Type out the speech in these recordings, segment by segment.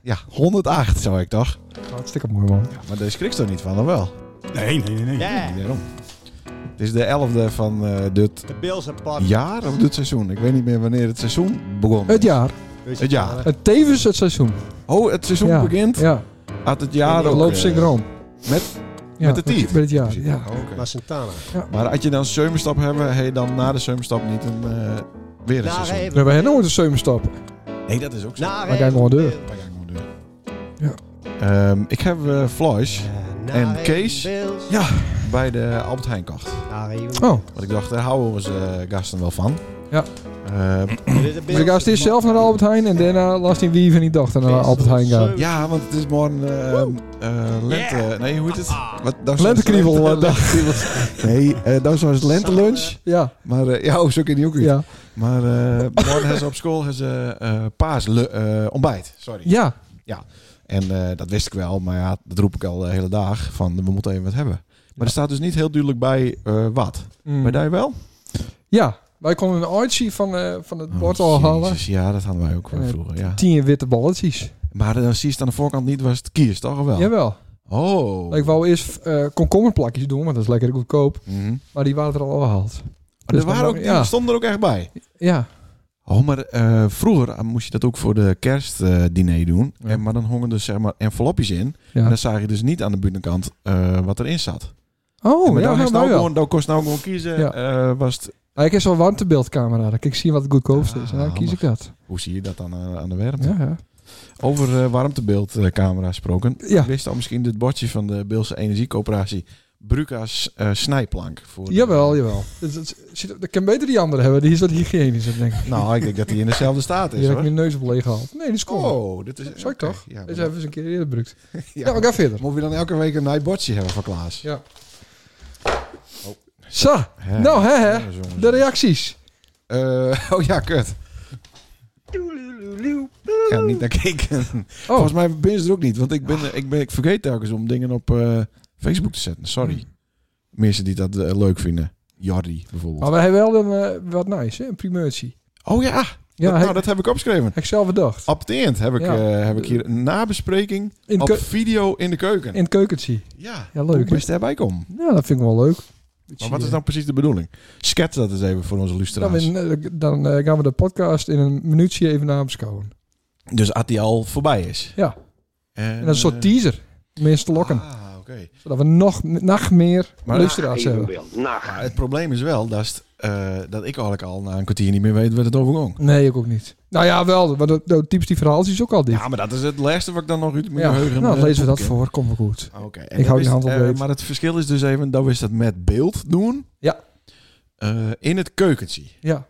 Ja, 108 zou ik toch? Hartstikke mooi, man. Maar daar schrikt er niet van, of wel? Nee, nee, nee. nee. Yeah. Daarom. Het is de 11e van eh, dit De Bills en Pop. jaar of dit seizoen. Ik weet niet meer wanneer het seizoen begon. Het jaar. het jaar. Het tevens het seizoen. Oh, het seizoen Ja. begint Ja, uit het jaar dat ook, loopt eh, synchroon. met, Ja, met de tiet. Met het jaar, ja. Oh, oké. Maar Santana. Maar als je dan een zomerstap hebt, heb je dan na de zomerstap niet een, eh, weer een Naar seizoen. We hebben nooit een zeumstap. Nee, dat is ook zo. Naar Maar kijk maar door. Dat ga ik maar doen. Ja. Ehm, ik heb eh Flash En Kees? Ja. bij de Albert Heijnkacht. Naar Oh, even. Want ik dacht, daar houden onze eh, gasten wel van. Ja. Ehm, dus ik eerst zelf naar Albert Heijn en daarna last hij wie en die dacht naar Albert Heijn gaan. ja, want het is morgen ehm, eh, lente... Nee, hoe heet het? Wat, dan zou het Lentekriebel, lente- eh, dag. lentekriebel. Nee, eh dan zou het lentelunch. Ja, Maar eh, ja, oh, zo ken je ook weer. ja, Maar eh, morgen hebben ze op school hebben ze, eh, paas le- eh, ontbijt. Sorry. ja. En eh, dat wist ik wel, maar ja, dat roep ik al de hele dag. Van, we moeten even wat hebben. Maar er staat dus niet heel duidelijk bij eh, wat. Mm. Maar daar wel? Ja, wij konden een uitzie van, eh, van het bord Oh, al halen. Jezus, ja, dat hadden wij ook wel Eh, vroeger, ja. Tien witte balletjes. Maar eh, dan zie je het aan de voorkant niet waar het kiest, toch? Of wel? Jawel. Oh. Ik wou eerst eh, komkommerplakjes doen, want dat is lekker goedkoop. Mhm. Maar Maar die waren er al afgehaald. Dus er waren dan- ook, die ja. stonden er ook echt bij. Ja. Oh, maar eh, vroeger eh, moest je dat ook voor de kerstdiner doen. Ja. En, maar dan hongen dus zeg maar envelopjes in. En ja. dan zag je dus niet aan de binnenkant eh, wat erin zat. Oh, maar ja, dan, ja, is nou nou wel. gewoon, dan kost nou gewoon kiezen. Ja. eh, was het, Ah, ik heb zo'n warmtebeeldcamera. Dan kan ik zien wat het goedkoopste is. En dan Ah, kies ik dat. hoe zie je dat dan eh, aan de werm? Ja, ja. Over eh, warmtebeeldcamera gesproken. Ja. Wist al misschien dit bordje van de Beelse Energiecoöperatie Bruca's eh, snijplank? Voor de- Jawel, jawel. Dat, dat, zit- dat kan beter die andere hebben. Die is wat hygiënischer, denk ik. Nou, ik denk dat hij in dezelfde staat Hier is heb ik hoor. mijn neus op leeg gehaald. Nee, die is cool. Oh, dit is... Zo oké, toch? Ja, Is maar- even eens een keer eerder gebruikt. ja, Ja, we gaan verder. Moet je dan elke week een nijbordje hebben van Klaas? Ja. Zo, nou hè hè. De reacties. Eh, oh ja, kut. Ik ga er niet naar kijken. Oh, Volgens mij ben ze er ook niet. Want ik, ben, ik, ben, ik vergeet telkens om dingen op eh, Facebook te zetten. Hmm. Sorry. Mensen die dat eh, leuk vinden. Jordi bijvoorbeeld. maar we hebben wel een, eh, wat nice, hè? een primeurtje. Oh ja, Ja, dat, heb nou, dat heb ik opgeschreven. heb ik zelf bedacht. Op het eind heb ik, Ja. eh, heb ik hier een nabespreking In het, op keu video in de keuken. in het keukentje. Ja, Ja, leuk, Hoe hè? best daarbij kom. Nou, dat vind ik wel leuk. eh, Maar wat is dan precies de bedoeling? Schets dat eens even voor onze Dan, lustra's. ben- eh, dan eh, gaan we de podcast in een minuutje even nabeschouwen. Dus als die al voorbij is. Ja. En, eh, En dat is een soort teaser. Mensen te lokken. Ah, oké. Zodat we nog, nog meer Maar- luisteraars hebben. Maar het probleem is wel dat, is, eh, dat ik eigenlijk al na een kwartier niet meer weet wat het over ging. Nee, ik ook niet. Nou ja, wel. Want dat- dat typisch die verhaaltjes is dus ook al dit. Ja, maar dat is het laatste wat ik dan nog uit mijn Ja, geheugen... nou, eh, lezen we dat opken. voor. Komt wel goed. Ah, Oké. En Ik dan hou die hand is- op eh, weet. Maar het verschil is dus even, dan is dat met beeld doen. Ja. Eh, in het keukentje. Ja,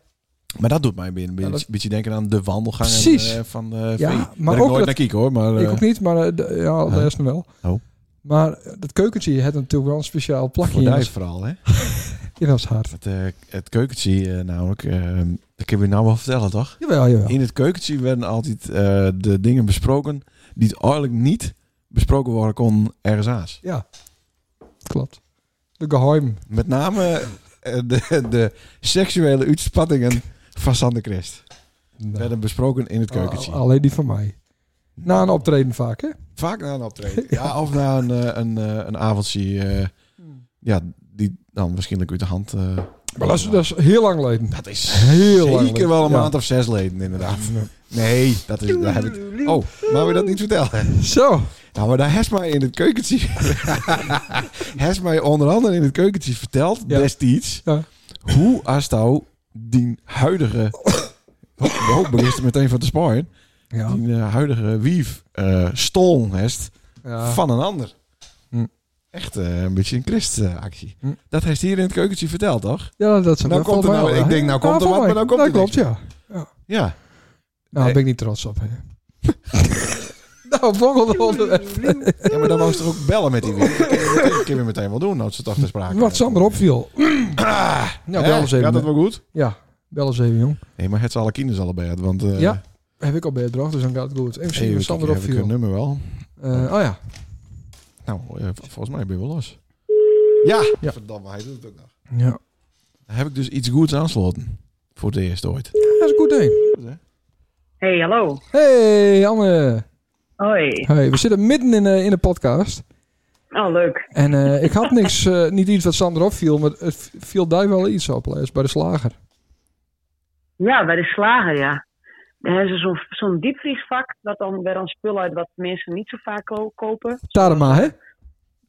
Maar dat doet mij een beetje, Ja, dat- beetje denken aan de wandelgangen Precies. eh, van de Ja, vee. maar Waar ik ook nooit dat- naar kijk hoor, maar... ik eh, ook niet, maar eh, de- ja, Nee. de rest wel. Oh. Maar eh, dat keukentje heeft natuurlijk wel een speciaal plakje in voor ons, die vooral, hè? in ons hart. Het, eh, het keukentje eh, namelijk, eh, ik heb je nou wel vertellen, toch? Jawel, jawel. In het keukentje werden altijd eh, de dingen besproken die het eigenlijk niet besproken worden kon ergens aans. Ja, klopt. De geheim. Met name eh, de, de seksuele uitspattingen van Sander Christ werden besproken in het keukentje. Al- Nou, alleen die van mij. Na een optreden vaak, hè? oh. Vaak na een optreden. Ja, of na een, eh, een, eh, een avondje, eh, ja, die dan waarschijnlijk uit de hand... eh, Maar dat is, dat is heel lang geleden. Dat is Heel zeker lang. wel een Ja. maand of zes leden, inderdaad. Nee, dat is... Daar heb ik... Oh, maar we dat niet vertellen? Zo. Nou, maar daar heeft mij in het keukentje... heeft mij onder andere in het keukentje verteld, Ja. destijds... Ja. hoe als nou die huidige... Oh, ik begin er meteen van te sparen. Ja. Die eh, huidige wief eh stolen heeft ja. van een ander. Hm. Echt eh, een beetje een christactie. Hm. Dat heeft hij hier in het keukentje verteld, toch? Ja, dat zou Nou dat komt er valt mij nou- wel, ik hè? denk, nou komt er valt wat, mij. maar nou komt dat er niks klopt, ja. Ja. Nou, Nee. daar ben ik niet trots op, hè. nou, volgende onderwerp. Ja, maar dan wou ze toch ook bellen met die wind. Dat kun je meteen- kun je meteen wel doen, als ze toch te sprake Ah, Wat Sander opviel. nou, bel eens Gaat even. dat wel goed? Ja, bel eens even, jong. Nee, maar het zal alle kinderen allebei uit, want... eh, Ja, Heb ik al bij het droog, dus dan gaat het goed. Even zien even wat Sander Sander heb ik opviel. hun nummer wel. Eh, oh ja. Nou, eh, v- volgens mij ben je wel los. Ja! Ja. Verdamme, hij doet het ook nog. ja. Dan heb ik dus iets goeds aansloten. Voor het eerst ooit. Dat is goed, hè. Goed, hè? Hey, hallo. Hey, Anne. Hoi. Hey, we zitten midden in, eh, in de podcast. Oh, leuk. En eh, ik had niks, eh, niet iets wat Sander opviel, maar het v- viel daar wel iets op, Les, bij de slager. Ja, bij de slager, ja. Daar hebben ze zo'n zo'n diepvriesvak, dat dan weer een spul uit wat mensen niet zo vaak ko- kopen. Tarema, hè?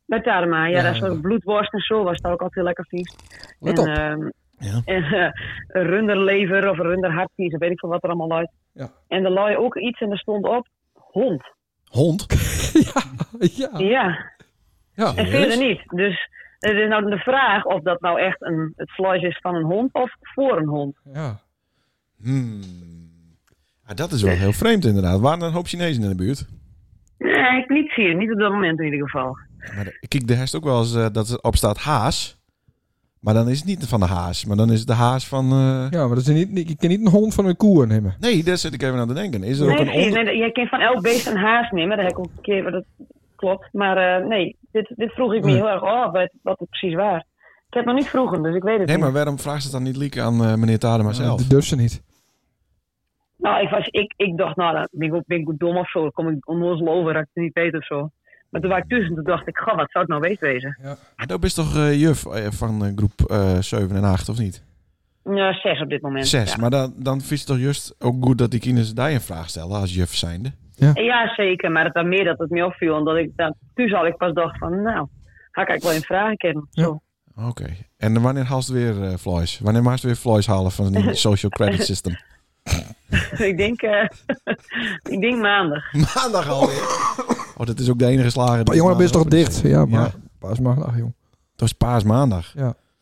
Bij Tarma, ja, Ja. daar is ook bloedworst en zo, was dat ook altijd lekker vies. Let en, op. ehm, Ja. en eh, runderlever of runderhartvies, of weet ik veel wat er allemaal uit. Ja. En er lag ook iets en er stond op, hond. Hond? ja. Ja. ja. En verder niet. Dus het is nou de vraag of dat nou echt een, het vlees is van een hond of voor een hond. ja. Hmm. Ah, dat is wel heel vreemd inderdaad. Waren er een hoop Chinezen in de buurt? Nee, ik niet hier. Niet op dat moment in ieder geval. Ja, maar de- kijk, de herst ook wel eens eh, dat er op staat haas. Maar dan is het niet van de haas. Maar dan is het de haas van... eh, Ja, maar dat is niet, je kan niet een hond van een koe nemen. Nee, daar zit ik even aan te denken. Is er Nee, ook een precies. onder... Nee, jij kent van elk beest een haas nemen. Dat heb ik ook een keer, dat klopt. Maar eh, nee, dit, dit vroeg ik me heel erg af, wat, wat het precies was. Ik heb het nog niet vroegen, dus ik weet het Nee, maar niet. waarom vraagt ze het dan niet Lieke aan eh, meneer Tadema zelf? Dat durft ze niet. Nou, ik, was, ik, ik dacht, nou, dan ben ik, ook- ben ik ook dom of zo. Dan kom ik onnozel over dat ik het niet weet of zo. Maar toen was ik tussen, toen dacht ik, goh, wat zou het nou wees wezen? Maar dat is toch eh, juf eh, van eh, groep eh 7 en 8, of niet? Ja, zes op dit moment. Zes. Ja. Maar dan, dan vind je het toch juist ook goed dat die kinderen daar een vraag stellen als juf zijnde? Ja, zeker. Maar het was meer dat het me opviel. Omdat ik dan, toen zal ik pas dacht van, nou, ga ik eigenlijk wel in vragen kennen. Ja. Zo. Oké. En wanneer haalt het weer eh Floys? Wanneer maakt het weer Floys halen van die social credit system? ik, denk, eh, ik denk maandag. Maandag alweer. Oh, dat is ook de enige slager. die Maar jongen, dat is maandag toch open dicht? Ja, maar Ja. pas maar dag, jong. Dat is paasmaandag.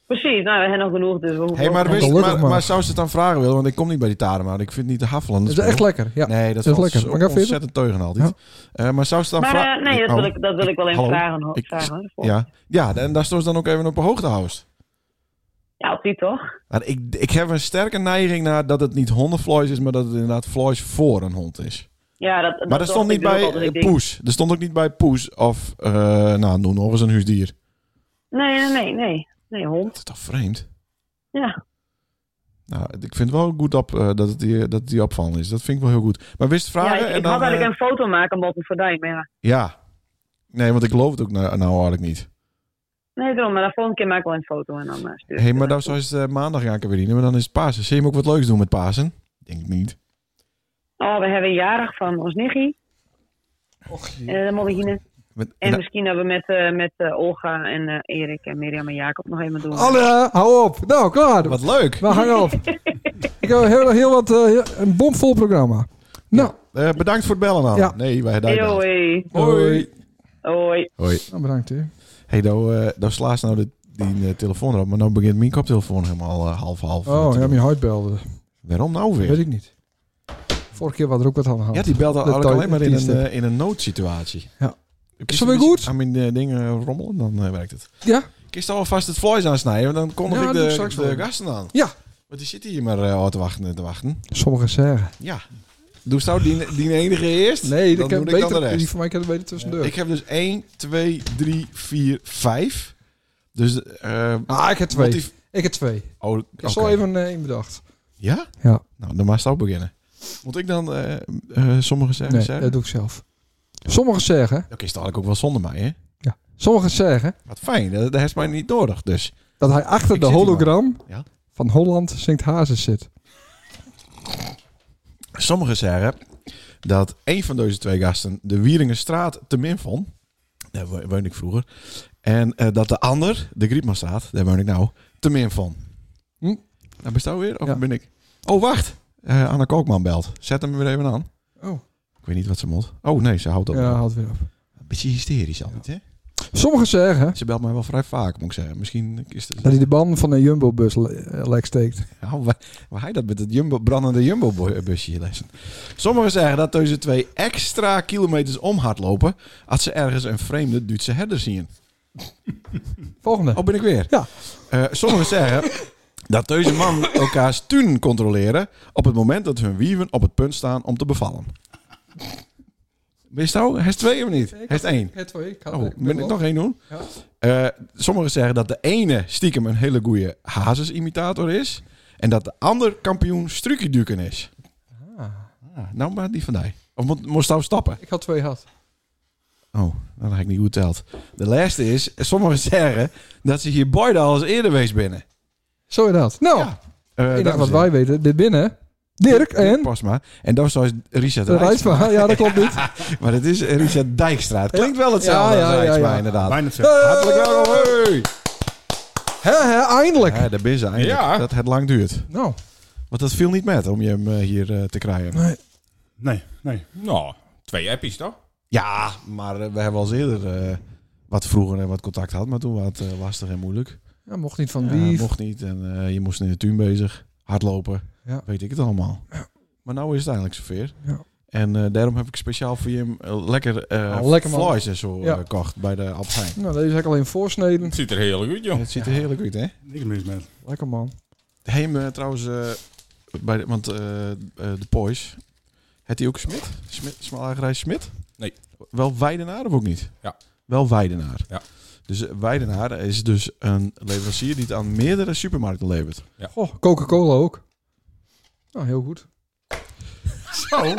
Precies, nou, we hebben nog genoeg. Dus we hoeven Hé, hey, maar, ook- wist- Gelukkig maar, maar. maar zou ze het dan vragen willen? Want ik kom niet bij die taren, maar ik vind het niet te haffelen. Dat is echt lekker. Ja. Nee, dat, Dat is valt lekker. zo Maar ga verder. ontzettend teugen altijd. Eh, maar zou ze dan Maar, vragen... eh, nee, dat wil, Oh, ik, dat wil ik wel even hallo? vragen. ho- Ik- vragen hoor. Ja, ja en daar stond ze dan ook even op de hoogte houden. ja, op die toch? Maar ik, ik heb een sterke neiging naar dat het niet hondenvloes is, maar dat het inderdaad vloes voor een hond is. Ja, dat, Nou, dat Maar dat dacht stond ik niet dus ook bij al, dus ik eh, denk- poes. Er stond ook niet bij poes of, eh, nou, noem nog eens een huisdier. Nee, nee, nee, nee. Nee, hond. Dat is toch vreemd? Ja. Nou, ik vind het wel goed op, eh, dat, het die, dat het die opvallend is. Dat vind ik wel heel goed. Maar wist ja vragen ik, en ik dan... had eh, eigenlijk een foto maken moeten voor die, maar ja. Ja. Nee, want ik geloof het ook nou, nou eigenlijk niet. Nee, daarom. Maar de volgende keer maak ik wel een foto en dan eh, stuur Hé, hey, ik het maar naar dan zou je het eh, maandag gaan kunnen verdienen, maar dan is het Pasen. Zie je hem ook wat leuks doen met Pasen? Denk ik niet. Oh, we hebben een jarig van ons nichtje. Och, jee. Eh dat moet ik hier net- Met, En nou, misschien hebben we met, eh, met eh, Olga en eh, Erik en Mirjam en Jacob nog even doen. Alle, hou op. Nou, klaar. wat leuk! We hangen op. Ik heb heel, heel wat, eh, heel- een bomvol programma. Nou, Eh, bedankt voor het bellen al. Ja. Nee, wij Hey, daar. hoi. Hoi. Hoi. Hoi. Nou, bedankt hè. Hé, hey, nou, eh, nou slaat nou de, die eh, telefoon erop, maar nou begint mijn koptelefoon helemaal eh, half-half. eh, Oh, te ja, doen. mijn huid belde. Waarom nou weer? Weet ik niet. Vorige keer was er ook wat aan de hand. Ja, die belt al- Dat eigenlijk alleen maar tijd- in een, tijdstip. eh, in een noodsituatie. Ja. Ik Is kies dat weer een beetje goed? Aan mijn eh, dingen rommelen, dan eh, werkt het. Ja? Kist alvast het vlees aansnijden, want dan kondig ik Ja, dat doe de, ik straks de wel even. gasten aan. Ja. Want die zitten hier maar eh, al te wachten en te wachten. Sommigen zeggen. Ja. Doe zo die, die enige eerst. Nee, dan dat kan doe ik dan de beter. Die rest. voor mij kan het beter tussendoor. Ik heb dus 1, 2, 3, 4, 5. Dus eh Ah, ik heb twee. motief- Ik heb twee. Ik Oh, heb oké. zo even eh, één bedacht. Ja? Ja. Nou, dan maar zo beginnen. Moet ik dan eh eh sommige zeggen? Nee, zeggen? dat doe ik zelf. Sommigen zeggen, Oké, is het eigenlijk ook wel zonder mij, hè? sommigen zeggen Wat fijn, dat, dat heeft mij niet nodig, dus. dat hij achter Ik de zit hier wel. hologram Ja. van Holland zingt Hazes zit. Sommigen zeggen dat een van deze twee gasten de Wieringenstraat te min vond. Daar wo- woonde ik vroeger. En eh, dat de ander, de Griepmanstraat, daar woon ik nou, te min van. Hm? Nou, bist jou weer? Of Ja. ben ik? Oh, wacht. Eh Anna Kookman belt. Zet hem weer even aan. Oh. Ik weet niet wat ze moet. Oh nee, ze houdt op. Ja, haalt weer op. Een beetje hysterisch altijd, hè? Sommigen zeggen Ze belt mij wel vrij vaak, moet ik zeggen. Misschien is het... dat hij de ban van een Jumbo-bus le- eh, lek steekt. Nou, waar, waar hij dat met het jumbo, brandende jumbo-busje lessen. Sommigen zeggen dat deze twee extra kilometers om hardlopen... als ze ergens een vreemde Duitse herder zien. Volgende. Oh, ben ik weer? Ja. Eh, sommigen zeggen dat deze man elkaars tuin controleren... op het moment dat hun wieven op het punt staan om te bevallen. Ben je zo? Hij is twee of niet? Hij is één. Het twee. Ik had Oh, het ben ik nog één doen? Ja. Eh, sommigen zeggen dat de ene stiekem een hele goede Hazes-imitator is. En dat de ander kampioen Strukiduken is. Ah. Ah, nou, maar die van mij. Of mo- moest hij stappen? Ik had twee gehad. Oh, dat heb ik niet goed teld. De laatste is, sommigen zeggen dat ze hier Boyden al eens eerder wees binnen. Zo inderdaad. Nou, Ja, Eh, ik dat dacht wat is- wij weten. Dit binnen. Dirk en... Pas maar. En dat is Richard De Rijksma. Rijtsma. Ja, dat klopt niet. Maar het is Richard Dijkstra. Het klinkt wel hetzelfde Ja, ja, als ja, Rijksma, ja. inderdaad. Bijna hetzelfde. Hartelijk welkom. hey! Eh, Hè, hè, eindelijk. Ja, daar ben ze eigenlijk. Ja. Dat het lang duurt. Nou, Want dat viel niet met om je hem eh, hier eh, te krijgen. nee. Nee, nee. Nou, twee appies toch? Ja, maar eh, we hebben al eens eerder eh, wat vroeger en wat contact gehad. Maar toen was het eh, lastig en moeilijk. Ja, mocht niet van Ja, wie. mocht niet. En eh, je moest in de tuin bezig. Hardlopen. Ja. Weet ik het allemaal. Maar nou is het eigenlijk zover. Ja. En eh, daarom heb ik speciaal voor je hem eh, lekker, eh Oh, lekker, man. flies en zo eh, Ja. gekocht bij de Albert Heijn. Nou, deze heb ik alleen voorsneden. Het ziet er heel goed, joh. Het ziet er heerlijk uit, hè? Niks mis met. Lekker man. Heem eh, trouwens, eh, bij de, want eh, eh, de Poys, had hij ook Smit? Smit Smalhagerij Smit? Nee. Wel Weidenaar of ook niet? Ja. Wel Weidenaar. Ja. Dus eh, Weidenaar is dus een leverancier die het aan meerdere supermarkten levert. Goh, Coca-Cola ook. Nou, heel goed. Zo,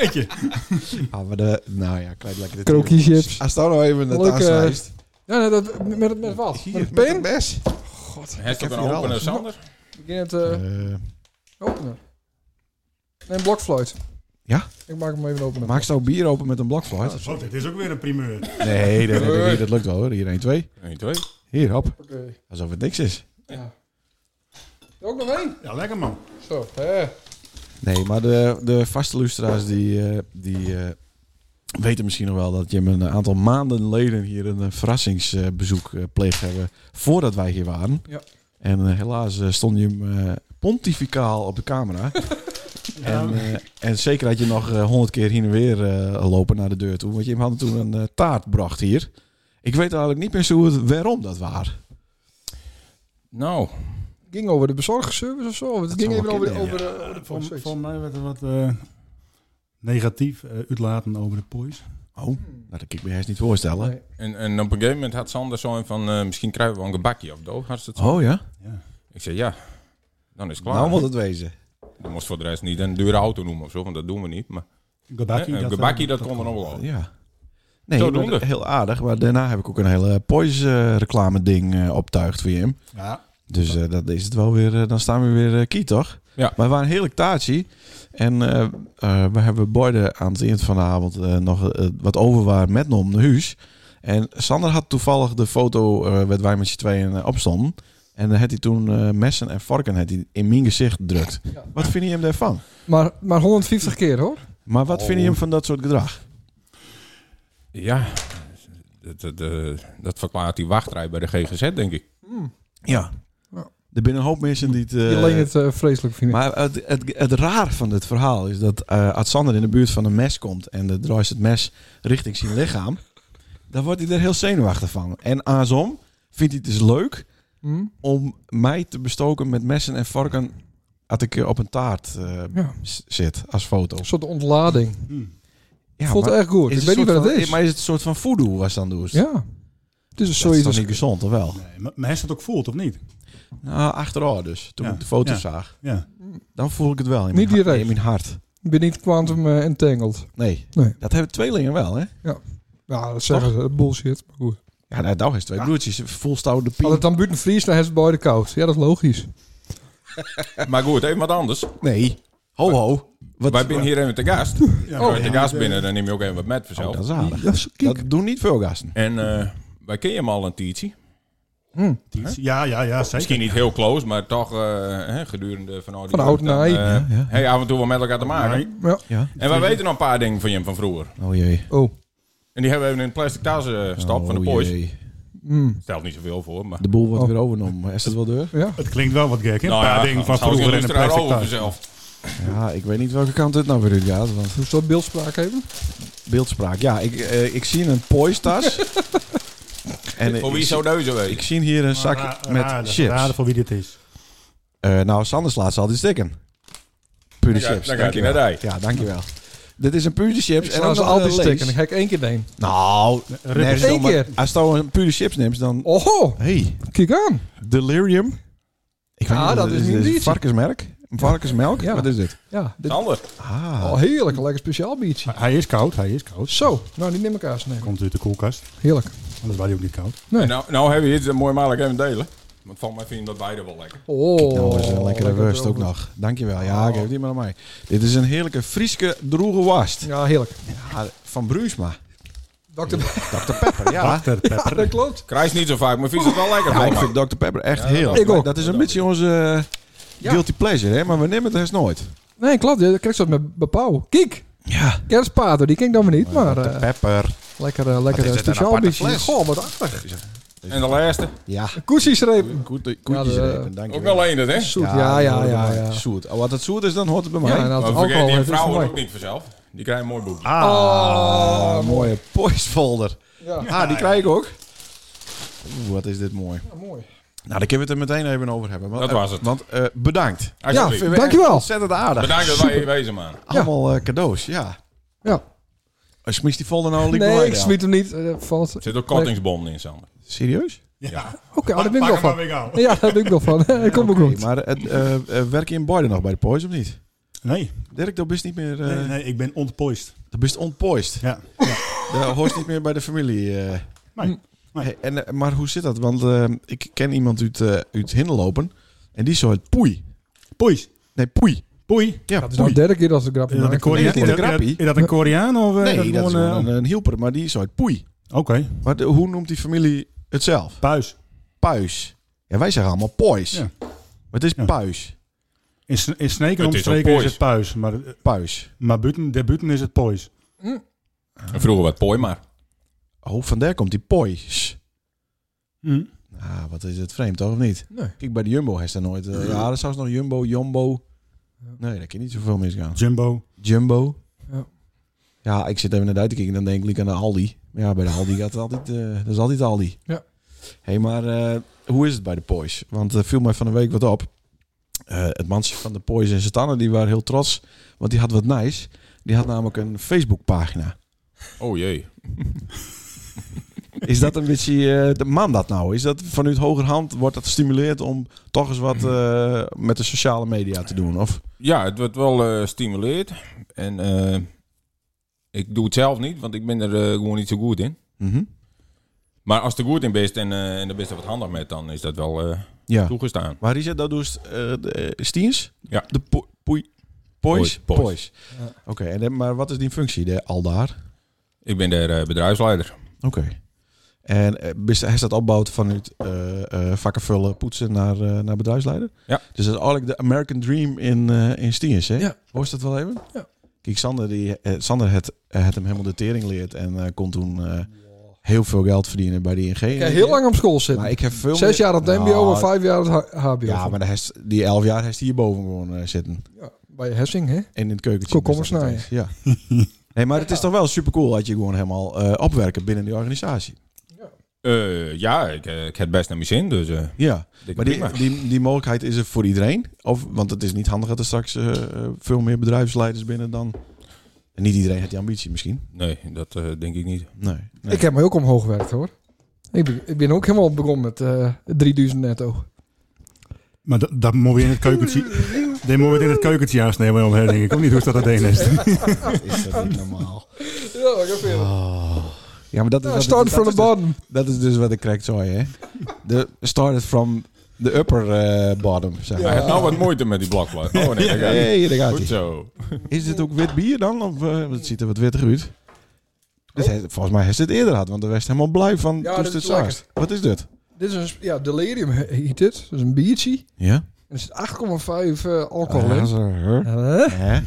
jeetje. Ah, maar de, nou ja, krijg lekker dit. Krokie chips. Als daar nou even het Leuk, aansnijst. Ja, nee, dat, met, met, met wat? Hier, met een met een pen? mes. God, Hij heeft Ik ook heb een hier opener, alles. Sander. ik ging het eh, Eh, openen. Nee, een blokfluit. Ja? Ik maak hem even openen. maak zo bier open met een blokfluit? Zo, dit is ook weer een primeur. Nee, nee, nee, nee, hier, dat lukt wel hoor. Hier 1, 2. 1, 2. Hier, hop. Oké. Alsof het niks is. Ja. Er Ook nog één? Ja, lekker man. Zo. Hè. Nee, maar de, de vaste luisteraars die, eh, die eh, weten misschien nog wel dat je me een aantal maanden geleden hier een eh, verrassingsbezoek eh, pleegd hebben voordat wij hier waren. Ja. En eh, helaas eh, stond je hem eh, pontificaal op de camera. En, eh, en zeker had je nog honderd keer heen en weer eh, lopen naar de deur toe. Want je had toen een eh, taart bracht hier. Ik weet eigenlijk niet meer zo het, waarom dat waar. Nou, Ging over de bezorgservice of zo? Of Het Dat ging zou wel even over de, kunnen, over de, over de Vol- proces. Volgens mij werd er wat eh, negatief eh, uitlaten over de poys. Oh, nou, dat kan ik me eerst niet voorstellen. Nee. en, en op een gegeven moment had Sander zo'n van, eh, misschien krijgen we wel een gebakje of doof. Had ze het zo. Oh ja? Ja. Ik zei, ja, dan is het klaar. Nou moet het wezen. Dan moest voor de rest niet een dure auto noemen of zo, want dat doen we niet. Maar Gebakkie, Eh, een dat- gebakkie, dat kon er nog wel Oh. over. Ja. Nee, Zodoende. maar heel aardig. Maar daarna heb ik ook een hele Poise eh, reclame ding eh, optuigd voor hem. Ja, Dus eh, dat is het wel weer. eh, dan staan we weer eh key, toch? Ja. Maar we waren een heerlijk taartje. En eh, eh, we hebben Boyden aan het eind van de avond eh, nog eh, wat over waren met nom naar huis. En Sander had toevallig de foto eh waar wij met z'n tweeën eh, op stonden. En dan had hij toen eh, messen en varken had hij in mijn gezicht gedrukt. Ja. Wat vind je hem daarvan? eh, Maar, maar 150 keer hoor. Maar wat vind je hem van dat soort gedrag? Ja, dat, dat, eh, dat verklaart die wachtrij bij de GGZ, denk ik. Ja. Ja. Er binnen een hoop mensen die het... eh, Die alleen het eh, vreselijk vinden. Maar het, het, het raar van dit verhaal is dat eh als Sander in de buurt van een mes komt en dan draait het mes richting zijn lichaam, dan wordt hij er heel zenuwachtig van. En aansom vindt hij het dus leuk Hm? om mij te bestoken met messen en varken als ik eh, op een taart eh, Ja. s- zit als foto. Een soort ontlading. hm. Ja, Voelt maar echt is goed. Ik het weet niet soort wat het van- is. Maar is het een soort van voodoo was dan dus? Ja. Het is een Dat is zoiets toch als... niet gezond, of wel? Nee, maar, maar hij is dat ook voelt, of niet? Nou, achteraf dus. Toen Ja. ik de foto's Ja. zag, Ja. dan voel ik het wel in, Niet mijn, hart, direct. in mijn hart. Ik ben niet quantum eh, entangled. Nee. Nee. dat hebben tweelingen wel, hè? Ja, dat zeggen ze. Bullshit. Maar goed. Ja, nou, nou is twee broertjes. Volstouwde Als pien. het dan buiten vries, dan heeft het beide koud. Ja, dat is logisch. Maar goed, even wat anders. Nee. Ho, ho. Wat, Wij zijn hier even te gast. ja Als je ja, te gast ja. Oh, binnen, dan neem je ook even wat met Oh, vanzelf. dat is aardig. Dat is kiek. Dat doen niet veel gasten. En eh, wij kennen hem al een tietje. Ja, ja, ja, zeker. Misschien niet heel close, maar toch eh, hè, gedurende van al die Van oud dan, naar eh, Ja, ja. Hey, af en toe wel met elkaar te maken. Nee. Ja. Ja. En wij weten nog een paar dingen van hem van vroeger. Oh jee. Oh. En die hebben we even in een plastic tas eh, gestopt van de Oh, Poys. jee. Mm. Stelt niet zoveel voor, maar... De boel wordt Oh. weer overgenomen. Is dat wel deur? Ja. Het klinkt wel wat gek, hè? Nou een paar ja, dingen van zou ik vroeger in een luisteraar plastic over tas. zelf. Ja, ik weet niet welke kant het nou weer uit gaat. Want Hoe zou beeldspraak hebben? beeldspraak. Ja, ik, eh, ik zie een Poys-tas. en eh, Voor ik, zie- wie zou deuze ik wezen? zie hier een zak Raar- met eh, raar- chips. raar voor wie dit is. Eh, nou, Sander slaat ze altijd stikken. Pure Dan ga- chips. dan gaat hij dankjewel. naar Ja, dankjewel. Dit is een pure chips. En En eh, als als ze altijd steken, dan stikken. ga ik één keer heen. Nou, Rubbers. nee, stel Eén maar, keer. Als je nou een pure chips neemt, dan... Oh, Hey, kijk aan. Delirium. Ik Ah, dat is niet een een biertje. varkensmerk. varkensmelk? Ja. Wat is dit? Ja, dit Sander. Ah, al heerlijk, een lekker speciaal biertje. Hij- Hij is koud, hij is koud. Zo, nou die neem ik aan nemen. Komt uit de koelkast, Heerlijk. anders was hij ook niet koud. Nee. Nou, nou hebben we iets eh, mooi makkelijk even delen. Want van mij vinden dat beide wel lekker. Oh, nou is een lekkere worst ook erover. nog. Dankjewel. Ja, geef die maar aan mij. Dit is een heerlijke Frieske droege worst. Ja, heerlijk. Ja, van Bruinsma. Dr. Dr. Pepper, ja. Achter pepper. dat klopt. Krijs niet zo vaak, maar vies het wel lekker. Ja, van ik mij. vind Dr. Pepper echt Ja, dat heerlijk. dacht Ik ook. Dat is een Dat beetje onze eh, Ja. guilty pleasure, hè? maar we nemen het eens nooit. Nee, klopt. Je krijgt dat met bepauw. Kijk, Ja, kerstpater, die ken ik dan weer niet, maar Dr. eh, Pepper. lekker, eh, lekker is eh, dit, een speciaal aparte biertje. fles? Goh, wat achtig. En de laatste. Ja, Koetsiesreep. eh, koetjes Ja, de- repen, dankjewel. Ah, Ook wel één, dat, hè? Zoet, ja, ja, ja. ja, Zoet. Oh, wat het zoet is, dan hoort het bij mij. Ja, nou, en als Maar het vergeet alcohol die heeft, is het vrouwen mooi. ook niet vanzelf. Die krijgen een mooi boekje. Ah, mooie poisfolder. Oh. Ja. Ah, die krijg ik ook. Oeh, wat is dit mooi. Ja, mooi. Nou, daar kunnen we het er meteen even over hebben. Want, Dat eh, was het. Want eh, bedankt. Ja, Alsjeblieft. Vinden we Dankjewel. echt Ontzettend aardig. Bedankt dat wij hier wezen, man. Allemaal eh, cadeaus, ja. Ja. Oh, Smies die folder nou liep Nee, maar ik wel. smiet hem niet. eh, valt. Er zit ook kortingsbon in, Sander. Serieus? Oké, oh, daar ben ik wel Pak hem van. maar weer aan. Ja, daar ben ik wel van. Ik kom ook goed. Maar het, eh, eh, werk je in Boyden nog bij de Poise of niet? Nee, Dirk, dat is niet meer... eh nee, nee, ik ben ontpoist. Dat is onpoist. Ja. Dat hoort niet meer bij de familie. eh. Nee. Hey, en, eh, maar hoe zit dat? Want eh, ik ken iemand uit, eh uit Hinderlopen. En die zo het poei. Pois. Nee, poei. Poei. Ja, Dat is nou poei. de derde keer dat ze de grap Is dat, een maken. Koreaan? Nee, dat is niet een is dat- grappie. is dat een Koreaan? Of, eh, nee, dat, is gewoon, eh, gewoon een, een hielper. Maar die zo het poei. Oké, Maar de- hoe noemt die familie het zelf? puis. Puis. Ja, wij zeggen allemaal pois. Ja. Maar het is Ja. puis. In, Sne- in Sneek en Het is omstreken ook is, puis. het puis. Maar, eh, Puis. maar buiten, de buiten is het puis. En vroeger wat pooi, maar. Oh, vandaar komt die pois. Hm. Ah, wat is het vreemd, toch? Of niet? Nee. Kijk, bij de Jumbo heeft daar nooit... eh, ja, er zelfs nog Jumbo, Jumbo. Nee, daar kan niet zoveel misgaan. Jumbo. Jumbo. Ja. Ja. ik zit even naar buiten kijken en dan denk ik liek aan de Aldi. Maar Ja, bij de Aldi gaat het altijd, eh dat is altijd Aldi. Ja. hey, maar eh, hoe is het bij de Poys? Want er viel mij van de week wat op. Eh, het mansje van de Poys en Satanen, die waren heel trots, want die had wat nice. Die had namelijk een Facebookpagina. Oh jee. Is dat een beetje, eh, de man dat nou? Is dat vanuit hogerhand, wordt dat gestimuleerd om toch eens wat eh, met de sociale media te doen? Of? Ja, het wordt wel eh stimuleerd. En eh, ik doe het zelf niet, want ik ben er eh, gewoon niet zo goed in. Mhm. Maar als je er goed in bent en, eh en er bent er wat handig met, dan is dat wel eh, Ja. toegestaan. Maar Richard, dat doet eh, de, eh, Stiens? Ja. De po- poei... Pois? Pois. Pois. Ja. Oké, en de- maar wat is die functie de, al daar? Ik ben daar eh, bedrijfsleider. Oké. En eh, best- hij is dat opbouwd vanuit eh, eh, vakken vullen, poetsen naar, eh, naar bedrijfsleider? Ja. Dus dat is eigenlijk de American Dream in, eh in Stiens, hè? Ja. Hoor je dat wel even? Ja. Kijk, Sander, die, eh, Sander het, eh, het hem helemaal de tering leert en eh, kon toen eh, heel veel geld verdienen bij de ING. Ik heb heel lang op school zitten. Maar ik heb veel Zes jaar op het Nou, mbo en vijf jaar op het H- hbo. Ja, maar de hest, die elf jaar heeft hij hierboven gewoon eh, zitten. Ja, bij Hessing, hè? En in het keukentje. Komkommers is dat nog steeds, Ja. Nee, maar het is toch wel super cool dat je gewoon helemaal eh, opwerken binnen die organisatie. Eh, ja, ik, eh, ik heb het best naar mijn zin, dus eh, Ja, dikke maar die, prima. die, die mogelijkheid is er voor iedereen. Of, want het is niet handig dat er straks eh, eh, veel meer bedrijfsleiders binnen dan. En niet iedereen heeft die ambitie misschien. Nee, dat eh, denk ik niet. Nee. nee. Ik heb me ook omhoog gewerkt, hoor. Ik ben, ik ben ook helemaal begonnen met eh 3000 netto. Maar dat, dat moet je in het keukentje... Dit moet je in het keukentje aansnemen om her, denk ik. Ook niet hoe is dat dat ding is. is dat niet normaal. Ja, ik heb veel. Ja, maar Ah, dat is, Ja, wat- start dat from is the dus- bottom. dat is dus wat ik correct zei, hè? De started from the upper eh, bottom, zeg Hij maar. heeft nou wat moeite met die blokplaat. Oh nee, daar gaat hij. Hey, daar gaat Goed ie. zo. Is dit ook wit bier dan? Of eh, het ziet er wat witter uit? Dit heeft- volgens mij heeft ze het eerder gehad, want de was helemaal blij van Ja, ja, dit het is zaast. Wat is dit? Dit is een, sp- ja, delirium heet dit. Dat is een biertje. Ja? En er zit 8,5 eh, Ah, alcohol in. Hè? Eh, Hè?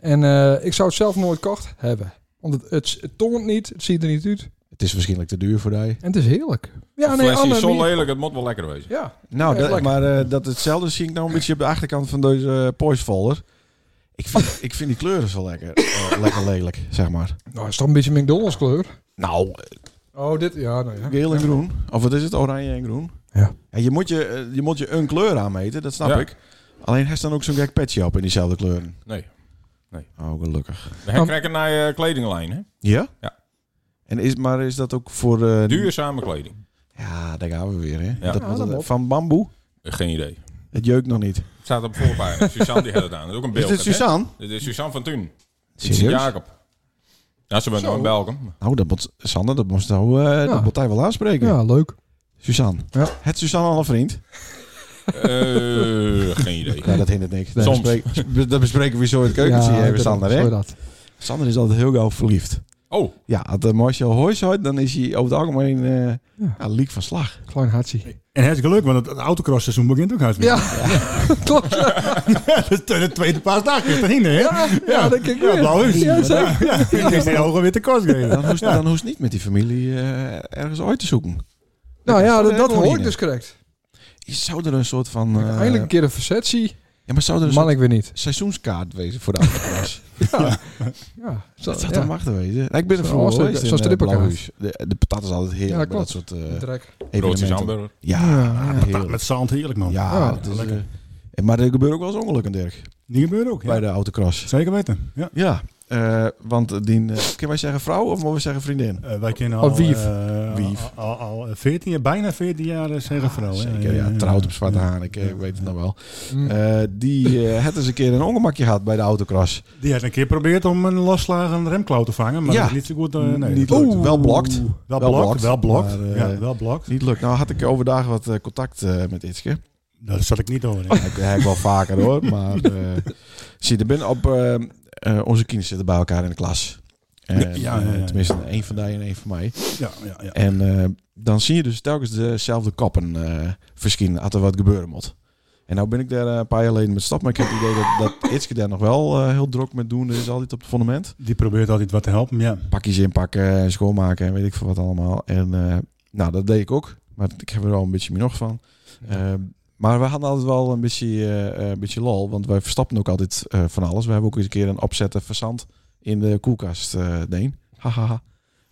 En eh, ik zou het zelf nooit kocht hebben. Want het, het, het toont niet, het ziet er niet uit. Het is waarschijnlijk te duur voor die. En het is heerlijk. Ja, Ja, nee, Flesje is Anne, zo die- lelijk, het moet wel lekker wezen. Ja, Nou, Ja, dat, lekker. maar eh, dat hetzelfde zie ik nou een beetje op de achterkant van deze eh, Porsche folder. Ik vind, ik vind die kleuren zo lekker, eh, lekker lelijk, zeg maar. nou, het is toch een beetje McDonald's kleur. Nou, Oh, dit, ja, nou ja. geel en groen. Of wat is het? Oranje en groen. Ja. je, moet je, eh, je moet je een kleur aanmeten, dat snap Ja. ik. Alleen hij dan ook zo'n gek petje op in diezelfde kleuren. Nee. Oh, gelukkig. We krijgen naar je kledinglijn, hè? Ja? Ja. En is, maar is dat ook voor... eh, Duurzame kleding. Ja, daar gaan we weer, hè? Ja. Dat Ja, moet dat het- moet. van bamboe? Eh, Geen idee. Het jeukt nog niet. Het staat op de voorpagina. Suzanne die had het aan. Dat is ook een Is beeld. dit Suzanne? Dit is Suzanne van Thun. Dit is Serieus? Jacob. Ja, ze bent Zo. nog in Belgium. Nou, dat moet, Sander, dat moest nou, eh, dat moet hij wel aanspreken. Ja, leuk. Suzanne. Ja. Het Suzanne al een vriend? Eh, geen idee. Ja, dat hindert niks. Soms. Dat, bespreken, dat bespreken we zo in het keukentje, Ja, hebben dat- Sander. Hè? zo dat. Sander is altijd heel gauw verliefd. Oh, Ja, als de Marcel Hoijs uit, dan is hij over het algemeen eh Ja. ja. leak van slag. Klein hartje. En hartstikke leuk, want het- het autocross seizoen begint ook hartstikke. Ja, klopt. Ja, dat is de tweede paasdag. is erin, hè? ja, dat kan ik Ja, weer. blauw is. Ja, zeker. Ja, ik denk die ogen witte kost geven. Dan hoeft, dan hoeft niet met die familie eh, ergens ooit te zoeken. Nou ja, dat, Sander dat en hoor ik Orine. dus correct. Zou er een soort van... eh, Eindelijk een keer een versettie. Ja, maar zou er een Man, soort ik weer niet. seizoenskaart wezen voor de autocross? Ja, zo, dat zou ja. toch machtig wezen? Nou, ik ben er Zo'n vroeger Ooster- geweest in, zo'n eh, strippenkaart. Blauwhuis. De, de patat is altijd heerlijk bij Ja, klopt. dat soort eh Drek. broodjes evenementen. hamburger. Ja, Ja, ja. heerlijk. Met zand heerlijk, man. Ja, Ja, dat is, lekker. eh, en- maar er gebeuren ook wel eens ongelukken, Dirk. Die gebeurt ook. ja. Bij de autocross. Zeker weten. Ja. Ja, eh, want die, eh, kunnen wij zeggen vrouw of mogen we zeggen vriendin? Eh, wij kennen Al al, wief. eh, Wief. al, al, al 14 jaar, bijna 14 jaar eh, zeggen vrouw. hè. Ah, Zeker, ja. Trouwt op Zwarte Haan, ik eh, weet het nog wel. Mm. Eh, die eh, had eens een keer een ongemakje gehad bij de autocross. Die heeft een keer geprobeerd om een losslagende remklauw te vangen, maar Ja. dat is niet zo goed. eh, nee, Niet dat lukt. lukt. Wel blokt. Wel Wel blokt, blokt, wel blokt. maar, eh, ja, wel blokt. Niet lukt. Nou had ik overdag wat eh, contact eh, met Itske. Daar zat ik niet over. hè. Ik heb wel vaker hoor, maar eh zie, er binnen op eh, eh, onze kinderen zitten bij elkaar in de klas. En, Ja, ja, ja, ja. eh, Tenminste, één van die en één van mij. Ja, ja, ja. En eh, dan zie je dus telkens dezelfde kappen eh verschijnen als er wat gebeuren moet. En nou ben ik daar eh, een paar jaar geleden met stap, maar ik heb het idee dat, dat Itske daar nog wel eh, heel druk met doen is, altijd op het fundament. Die probeert altijd wat te helpen, ja. Pakjes inpakken en schoonmaken en weet ik veel wat allemaal. En eh, nou, dat deed ik ook, maar ik heb er wel een beetje meer nog van. Eh, maar we hadden altijd wel een beetje, eh, een beetje lol, want wij verstappen ook altijd eh, van alles. We hebben ook eens een keer een opzetten verzand in de koelkast eh deen. Hahaha.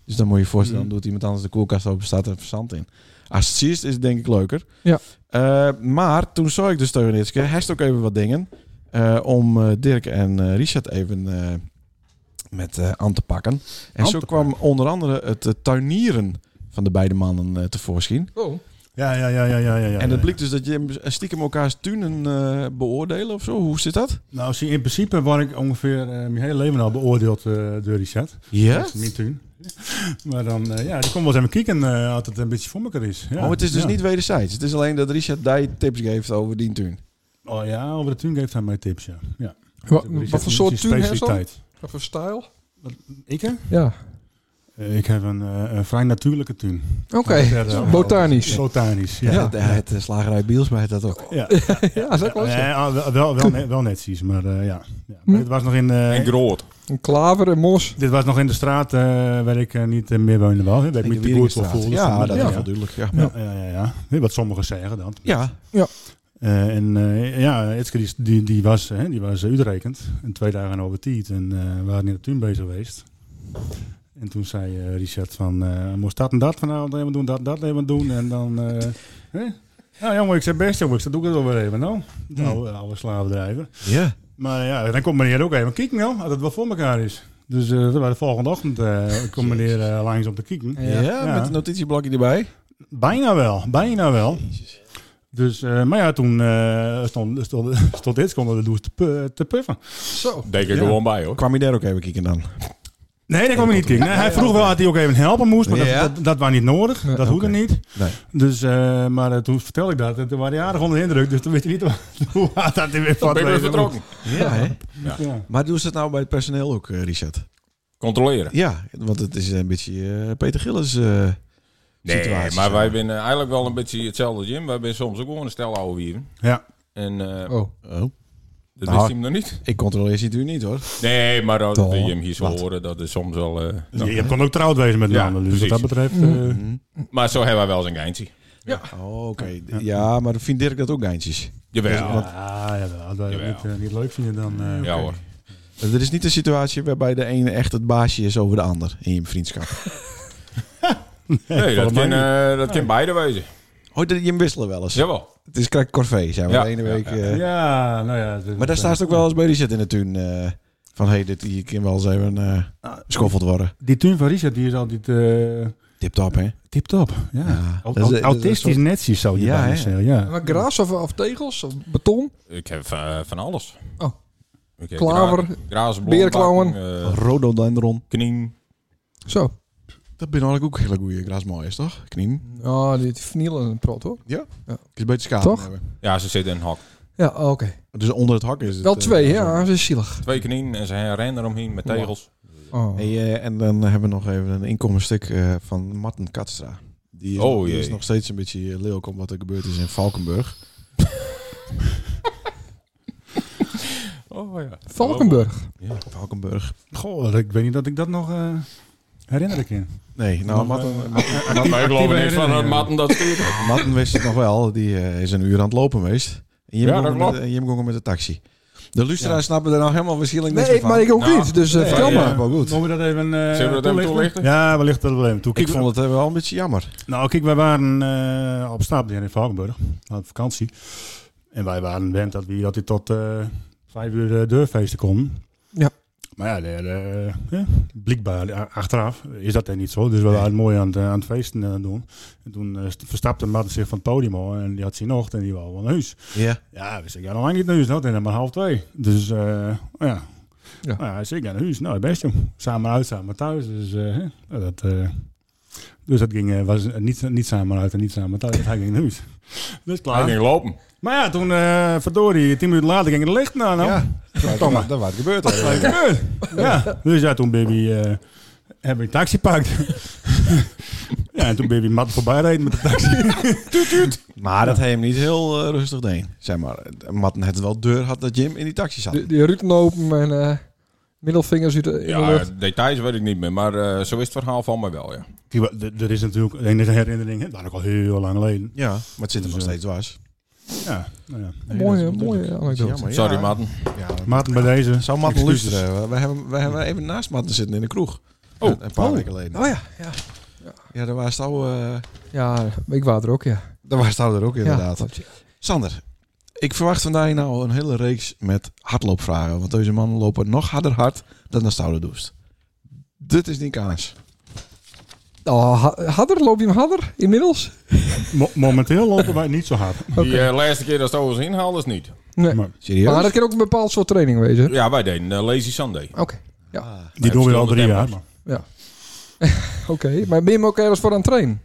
Dus dan moet je je voorstellen, Mm. dan doet iemand anders de koelkast open, staat er verzand in. Als het ziet, is het denk ik leuker. Ja. Eh, maar toen zag ik dus tegen Ritske, hasht ook even wat dingen. eh, om eh, Dirk en eh, Richard even eh, met eh, aan te pakken. En Aan zo te kwam onder andere het eh, tuinieren van de beide mannen eh, tevoorschijn. Oh, Ja, ja, ja, ja, ja. ja, ja en ja. het blijkt dus dat je stiekem elkaars tunen eh, beoordelen of zo. Hoe zit dat? Nou, zie, in principe word ik ongeveer eh, mijn hele leven al beoordeeld eh, door Richard. Ja? Dat is niet toen. Maar dan, eh, ja, die komt wel eens even kijken eh, als het een beetje voor elkaar is. Ja. Oh, het is dus Ja. niet wederzijds. Het is alleen dat Richard die tips geeft over die tuin. Oh ja, over de tune geeft hij mij tips, ja. ja. wat, Richard wat voor soort is tune een heeft dat? specialiteit. Wat voor stijl? Ik hè? Ja, Eh, Ik heb een, eh, een vrij natuurlijke tune. oké. Verder, eh, Botanisch. Botanisch, ja. het, het, eh, slagerij Bielsma heet dat ook. Ja. Ja, dat is ook wel zo. Nee, ah, wel, wel, wel, net- wel netjes, maar eh, ja. ja. Hm? Maar dit was nog in... eh, En groot. Een klaver, een mos. dit was nog in de straat eh, waar ik eh, niet eh, meer woonde wel. hè, Waar ik In de niet te goed voor Wieringenstraat. voelde. Ja, dat ja. is wel duidelijk. Ja. Ja, ja, ja. ja. Weet Wat sommigen zeggen dan. Ja. Eh, en eh, ja, Etske die, die, die was, hè, die was uitrekend. En twee dagen over tijd. En eh, we waren in de tuin bezig geweest. En toen zei eh, Richard van, eh moest dat en dat vanavond even doen, dat en dat even doen. En dan, eh hè? nou jongen, ik zei best jongens, dat doe ik het wel weer even. Nou, oude, oude slavendrijver. Ja. Maar ja, dan komt meneer ook even kijken nou, als het wel voor elkaar is. Dus eh bij de volgende ochtend eh komt meneer eh, langs om te kijken. Ja, met een notitieblokje erbij. Bijna wel, bijna wel. Dus, eh, maar ja, toen eh, stond, stond, stond dit onder de douche te, pu- te puffen. Oh, Zo. Denk Ja. ik gewoon bij hoor. Kwam je daar ook even kijken dan? Nee, daar kwam hij niet in. Nee, hij vroeg wel dat hij ook even helpen moest, maar Ja. dat, dat, dat was niet nodig. Nee, dat hoefde oké. niet. Nee. Dus, eh, maar eh, toen vertelde ik dat en toen waren hij aardig onder de indruk. Dus toen wist hij niet hoe- hoe hard dat hij weer Dan van ben ik weer vertrokken. Ja, hè? Ja. Maar doen ze het nou bij het personeel ook, eh, Richard? Controleren. Ja, want het is een beetje eh, Peter Gillis. eh, Nee, situaties maar zijn. wij zijn eigenlijk wel een beetje hetzelfde, Jim. Wij zijn soms ook gewoon een stel oude wieven. Ja. En eh, Oh, oh. dat Nou. wist hij hem nog niet. Ik controleer ze natuurlijk niet hoor. Nee, maar dat Toch. dat je hem hier zo Wat? horen, dat is soms wel... eh, Dus nou. je je kon ook trouwd wezen met Ja, mannen. dus wat dat precies. Mhm. betreft... eh, Mhm. Maar zo hebben wij wel eens een geintje. Oh, oké. Ja, maar vindt Dirk dat ook geintjes? Jawel. Ja, ja, ja, dat wij dat Jawel. niet, eh, niet leuk vinden dan... eh, oké. hoor. Eh, Er is niet een situatie waarbij de ene echt het baasje is over de ander in je vriendschap. Nee, dat volgens mij kan, eh, dat kan beide wezen. Oh, dat- je wisselen wel eens. Jawel. Het is krak corvée, zijn we Ja, de ene ja, week. ja. eh, Ja, nou ja. dus- Maar daar staat ook wel eens bij Richard in de tuin. eh, van, hé, hey, dit hier kan wel eens even eh, geschoffeld worden. Die tuin van Richard die is altijd... eh, Tip top, hè? Tip top. Ja. Ja. Dat is- Au- au- dat is een autistisch netjes zou je Ja, bijna hè? zeggen. Ja. Maar gras of, of tegels of beton? Ik heb eh, van alles. Oh. Ik heb Klaver, gra- graas, beerklauwen. blondbak, eh, Rhododendron. knien. Zo. Dat ben eigenlijk ook hele goede grasmaaiers, toch? Knien. Oh, dit vernielen een prot hoor. Ik is beter schapen Toch? hebben. Ja, ze zitten in een hok. Ja, oké. Dus onder het hak is het. Wel eh, twee, zo. ja, dat is zielig. Twee knieën en ze rennen eromheen met tegels. Oh. Hey, eh, en dan hebben we nog even een inkomenstuk eh, van Martin Katstra. Die is, Oh, die jee. is nog steeds een beetje eh, lelijk om wat er gebeurd is in Valkenburg. Oh ja. Valkenburg. Valkenburg. Goh, ik weet niet dat ik dat nog eh, herinner ik in. Nee, nou, Nog, Martin, eh, Martin, Wij geloven niks van herinneringen. eh, Matten dat stuurt. Martin wist het nog wel. Die eh, is een uur aan het lopen geweest. En Jim Ja, ging dat met- klopt. en Jim ging met de taxi. De luisteraars snappen er nou helemaal waarschijnlijk niks Nee, van. maar ik ook Nou, niet. Dus eh, nee, vertel ja. maar. maar goed. Mogen we dat even eh, Zullen we dat even toelichten? Ja, wellicht dat probleem. Toen Ik keken vond we- het eh, wel een beetje jammer. Nou, kijk, wij waren eh, op stap hier in Valkenburg. We hadden vakantie. En wij waren wend dat we dat dit tot eh, vijf uur eh, deurfeesten kon. Ja. Maar ja, de, de, ja, blijkbaar a- achteraf is dat dan niet zo. Dus we waren mooi aan het, eh, aan het feesten eh, doen. En toen eh, st- verstapte Martin zich van het podium af en die had zijn ochtend en die wou wel naar huis. Ja. Ja, we zeggen, ja, nog lang niet naar huis. Nou, het is maar half twee. Dus eh, ja. Ja. Ja. Nou, hij zei, ik ga naar huis. Nou, best jong. Samen uit, samen thuis. Dus, eh, hè, nou, dat, eh, dus dat ging, eh, was niet, niet samen uit en niet samen thuis. Hij ging naar huis. Dus Hij klaar. ging lopen. Maar ja, toen, eh verdorie, tien minuten later ging het licht naar. Nou. Ja. Verdomme. Dat was het gebeurd. Wat is er gebeurd? Ja. Dus ja, toen baby eh heb ik een taxi gepakt. ja, en toen baby mat voorbij reed met de taxi. Maar dat hij hem niet heel eh, rustig deed. Zeg maar, eh, Martin het wel deur had dat Jim in die taxi zat. Die, die ruten open en eh, middelvingers uit de, in de Ja, lucht. details weet ik niet meer, maar eh, zo is het verhaal van mij wel, ja. Kijk, wa- d- Er is natuurlijk de enige herinnering, hè, dat was ook al heel lang geleden. Ja, maar het zit hem nog Dus, eh, steeds dwars. Ja, nou ja. Nee, Mooie- dat is mooie natuurlijk- anekdote. jammer, ja. Sorry, Matten. Ja, dat- Maarten bij deze. Zou Martin Excuses. luisteren? We hebben, we hebben even naast Martin zitten in de kroeg. Oh. Een- Een paar Oh. weken geleden. Oh ja, ja. Ja, daar was het al, eh, Ja, ik was er ook, ja. daar was het al er ook inderdaad. Ja, klopt. Sander, ik verwacht vandaag nou een hele reeks met hardloopvragen. Want deze mannen lopen nog harder hard dan de Stouder doest. Dit is niet kaas. Oh, ha- hadder, loop je hem hadder inmiddels? Mo- momenteel lopen wij niet zo hard. Die eh, laatste keer dat ze overigens inhaalden is niet. Nee. Maar Serieus? Maar dat kan ook een bepaald soort training wezen. Ja, wij deden eh, Lazy Sunday. Oké, Ah. die doen we al drie jaar. Tempo's. maar- oké. Maar ben je hem ook ergens voor aan het trainen?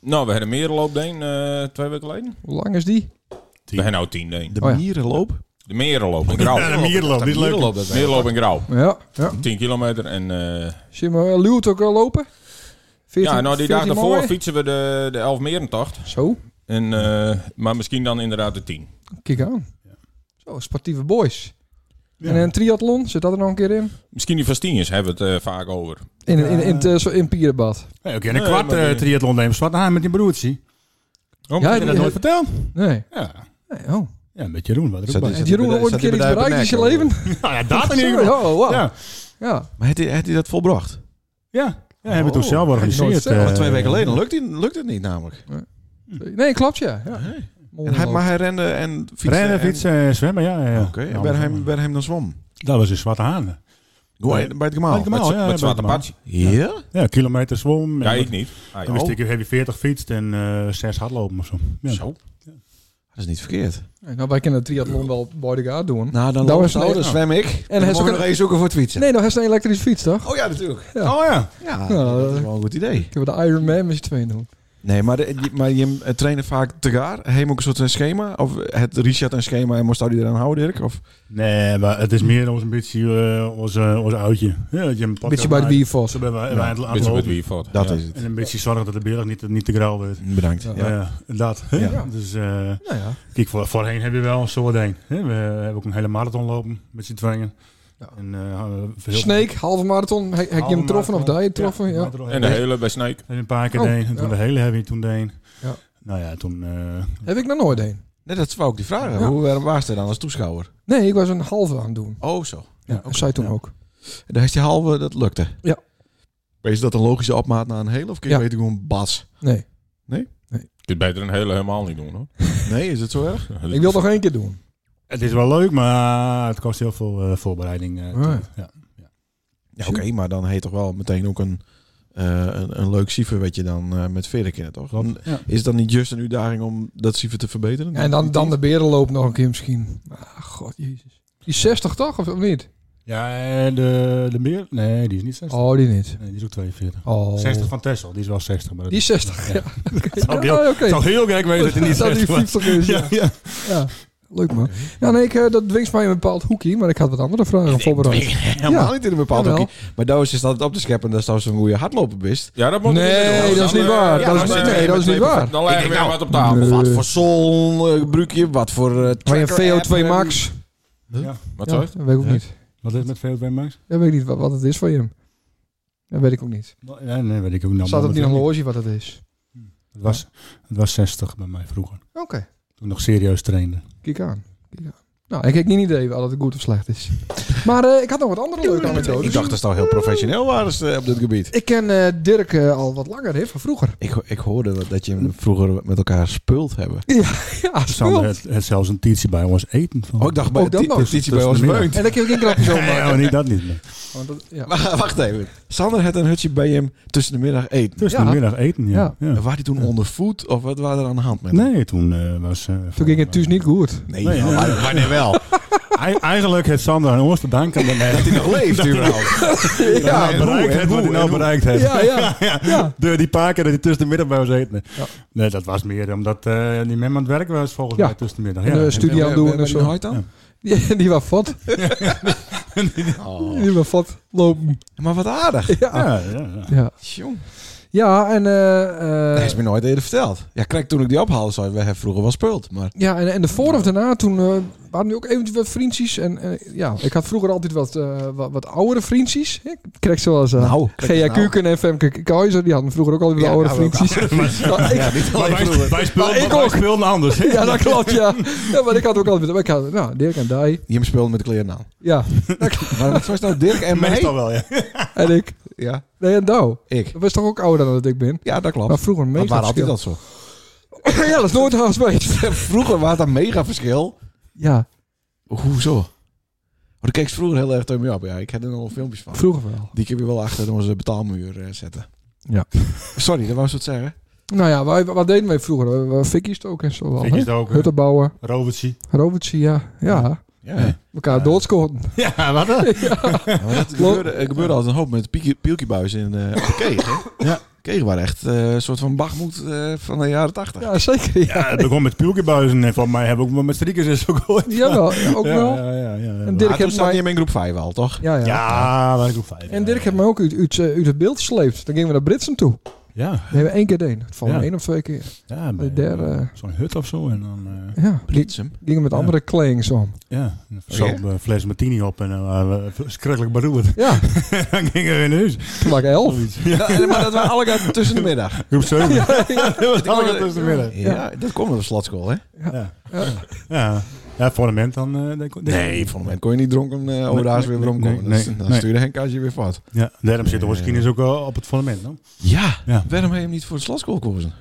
Nou, we hadden meer loopdeen eh twee weken geleden. Hoe lang is die? We hadden nou tien deen. De Oh ja. mierenloop? De merenloop in grauw. Ja, de mierloop, niet leuk. Mierenloop, dat is- Merenloop in grauw. Ja, ja. 10 kilometer en... eh, Zie je maar Luwt ook al lopen? 14, ja, nou die dag 14 daarvoor mooi? fietsen we de, de Elfmerentocht. Zo, En, eh, maar misschien dan inderdaad de 10. kijk aan. Zo, sportieve boys. Ja. En een triathlon, zit dat er nog een keer in? Misschien die Vastienjes hebben we het eh, vaak over. In, in, in, het, eh, zo- in Pierenbad. Nee, oké, en een Nee, kwart maar eh, die- triathlon nemen. Zwart haar met die broertje. Ja, Heb je dat die- nooit verteld? Nee. Ja. nee oh. Ja, met Jeroen. Wat er Zet ook die- bij. hij Heeft Jeroen bij- ooit zat hij een keer iets bij de bereikt in zijn Eikenek, leven? Nou ja, dat in ieder Zo, geval. oh, wow. Ja, Ja. Maar heeft hij, heeft hij dat volbracht? ja. Ja, hebben we Oh, toen zelf nooit georganiseerd. verteld. eh, Twee weken geleden lukt, hij, lukt het niet namelijk. Nee, klopt ja. ja. En hij, maar hij rende en fietste. Rennen, en- fietsen, eh, zwemmen, ja. ja, ja. Oké, en Nou, ben dat hem, was- ben hem dan zwom? Dat was in Zwarte Haan. Bij, bij het gemaal? Bij het gemaal. Met, Oh, z- ja, met dat zwarte weet ik patje. Ja? Ja, kilometer zwom. Ja, en ik niet. Ah, Toen ja. wist ik, heb je 40 fietst en eh 6 hardlopen of zo. Ja. Zo. Dat is niet verkeerd. Nou, wij kunnen triathlon wel bij de gaar doen. Nou, dan Nou, loop is het- nou, dan zwem ik. En hij dan is mogen ook we een- nog even zoeken voor het fietsen. Nee, nou, hij een elektrische fiets, toch? Oh ja, natuurlijk. Ja. Oh ja. Ja, Ja, dat is eh. wel een goed idee. Kunnen we de Ironman met z'n tweeën doen? Nee, maar, de, die- maar je eh, trainen vaak tegaar. Hij heeft ook een soort eh, schema. Of het Richard een schema en moest hij eraan houden, Dirk? Of Nee, maar het is meer ons een beetje eh, ons, eh, ons oudje. Ja, dat je een Een beetje bij de Biervos. Zo ben we- wij aan het Een beetje met lopen. wie valt. dat ja. is het. En een beetje zorgen dat de berg niet, niet te grauw wordt. Bedankt. Ja. Ja. Ja, dat. hè? Ja. Dus eh, Nou ja. kijk, voor, voorheen heb je wel een soort ding. hè. We hebben ook een hele marathon lopen met z'n tweeën. Ja. En, eh, veel- Snake, halve marathon. Heb je Halve hem getroffen of marathon. daar je getroffen? Ja. marathon. En de hele bij Snake. En een paar keer Oh, deen. En ja. toen de hele heb je toen deen. Ja. Nou ja, toen... eh, Heb ik nog nooit een. Nee, dat wou ik die vragen. Ja. Hoe waarom was hij dan als toeschouwer? Nee, ik was een halve aan het doen. Oh, zo. Ja, oké. zei toen Ja. ook. En Daar is die halve, dat lukte. Ja. Maar Is dat een logische opmaat naar een hele? Of kun je Ja. beter gewoon bas? Nee, Je kunt beter een hele helemaal niet doen hoor. Nee, is het zo erg? ik wil het nog één keer doen. het is wel leuk, maar het kost heel veel eh, voorbereiding. eh, Ah. tijd. ja. Ja, oké, maar dan heet toch wel meteen ook een, eh, een, een leuk cijfer wat je dan eh, met verder kennen, toch? Dan Ja. Is dat niet juist een uitdaging om dat cijfer te verbeteren? En dan, Die dan tien? de berenloop nog een keer misschien. Ah, god, jezus. Die is 60 toch, of niet? Ja, eh, de, de beer? Nee, die is niet 60. Oh, die niet. Nee, die is ook 42. Oh. 60 van Tessel, die is wel 60. Maar dat Die is 60, ja. zou ik heel- Ja, Het zou heel gek wezen dat hij niet Dat die 60 was. 50 is, ja. Ja, ja. Ja, Leuk man. Ja, nee, ik, eh, dat dwingt mij in een bepaald hoekje, maar ik had wat andere vragen voorbereid. Helemaal niet in een bepaald Jawel. hoekje. Maar daar is dat op te scheppen dat is een goede hardlopen bist. Ja, dat moet Nee, niet doen. dat is Dan, niet eh, waar. ja, Dat is- dan zitten nee, we dat is met niet twee- waar. Dan leggen we weer wat op tafel. Nee. Ah, Wat voor sol eh, brukje, wat voor eh, Maar je tracker app, VO2 eh, max? Wat Ja, zo? dat weet ik ook Ja. niet. Wat is het met VO2 Max? Dat weet ik niet wat, wat het is voor je. Dat weet ik ook niet. Ja, nee, weet ik ook niet. Staat op die horloge wat het is? Het was, het was 60 bij mij vroeger. Oké. Toen ik nog serieus trainde. Kijk aan. Kijk aan. Nou, ik heb geen idee wel dat het goed of slecht is. Maar eh, ik had nog wat andere leuke anekdotes. Ik dacht dat ze al heel professioneel waren ze, eh, op dit gebied. Ik ken eh, Dirk eh, al wat langer, hè, van vroeger. Ik, ik hoorde wat- dat je hem vroeger met elkaar gespeeld hebben. Ja, Sander spul. heeft, heeft zelfs een tietje bij ons eten. Van. Oh, ik dacht bij Ook dat dat nog. petitie bij Dat ons is de middag. meunt. En daar kun je geen grapjes over Nee, maken. oh, niet dat niet meer. Want dat- ja. Maar wacht even. Sander had een hutje bij hem tussen de middag eten. Tussen Ja. de middag eten, ja. ja. En Waar hij toen onder voet of wat waren er aan de hand met hem? Nee, toen eh, was... eh, Toen ging het dus niet goed. Nee, Nee, ja, nee. maar- wanneer wel? Ei- Eigenlijk heeft Sander aan ons te danken dat hij Dat hij nog leeft überhaupt. ja, en hoe, bereikt en heeft wat hoe, hij en nou hoe. bereikt heeft. Ja, ja. Ja. Door die paar keer dat hij tussen de middag bij ons eten. Ja. Nee, dat was meer omdat eh die man aan het werk was volgens Ja. mij tussen de middag. En, Ja, eh, En- studie aan En doen waar- en waar- zo. waar dan? Die, die was fot. Die was fot lopen. Oh. Maar wat aardig. Ja. ja, ja, ja. Ja, Tjong. ja en... eh, eh, Dat is me nooit eerder verteld. Ja, kijk, toen ik die ophaalde, zei ik, we hebben vroeger wel speeld. Maar Ja, en, en de voor of daarna, toen eh, waren nu ook eventjes wat vriendjes. En eh, ja, ik had vroeger altijd wat, eh, wat, wat oudere vriendjes. Ik kreeg zoals eh Nou, kijk eens G.A. Kuken en Femke Kaiser, die hadden vroeger ook altijd wat Ja, oudere ja, wel vriendjes. Ja, ik- Maar wij, wij speelden, Maar ik wij ook. speelden anders. hè? ja, dat klopt, ja. ja. Maar ik had ook altijd... maar Ik had, nou, Dirk en Dai. je hem speelde met de kleren aan. Ja, Maar wat was nou Dirk en Meestal mij? wel, ja. en ik. Ja, Nee, en Douw. ik. Dat was toch ook ouder dan dat ik ben? Ja, dat klopt. Maar vroeger dat mega waren altijd verschil. dat zo. ja, dat is nooit haast geweest. Vroeger was dat een mega verschil. Ja, Hoezo? Want ik keek vroeger heel erg tegen me op. Ja, ik heb er nog wel filmpjes van. vroeger wel. Die kun je wel achter onze betaalmuur eh, zetten. Ja. Sorry, dat wou ze wat zeggen. Nou ja, wij, wat deden wij vroeger? We- we Fikkies ook en zo wel. Fikkies hè? ook, hè? Hutten bouwen, Robertsie. robotsje, ja. Ja, Ja. ja. elkaar ja. Ja, wat dan? maar dat Klopt. gebeurde, er gebeurde altijd een hoop met pieke- pielkiebuis in eh op de keeg. Hè? Ja. Keeg waren echt eh, een soort van bagmoed van de jaren tachtig. Ah, Ja, zeker. Ja. Ja, het begon met puilkebuizen en van mij hebben we ook wel met strikers is ook ooit. Jawel, ja, ook Ja, wel. Ja, ja, ja. En ja. Dirk Maar toen heeft zat mij- hij in mijn groep 5 al, toch? Ja, ja. Ja, was ik ook vijf. En Dirk heeft mij ook uit, uit, eh, uit het beeld gesleept. Dan gingen we naar Britsen toe. Ja, We hebben één keer deen. Het valt Ja. me één of twee keer. ja De bij, derde- zo'n hut of zo. En dan, eh, Ja. Blitzem. Gingen met Ja. andere klanks om. ja, en zo een eh, fles martini op en dan waren we schrikkelijk beroerd. Ja, dan gingen we in huis. toen was ik elf. Zoiets. Ja, Ja, maar dat waren allemaal tussen de middag. groep 7. Ja, ja. dat was allemaal tussen de middag. Ja, dat komt op de slatschool, hè? Ja. Ja. ja, voor een moment dan... eh, denk ik- Nee, van moment kon je niet dronken eh over de haas weer nee, weer omkomen. nee, Dan- nee, dan nee. stuurde Henk Kaasje weer vat. Ja, Eh. daarom zit Oorskines ook wel op het fundament. No? Ja, Ja. waarom heb je hem niet voor de slatschool gekozen?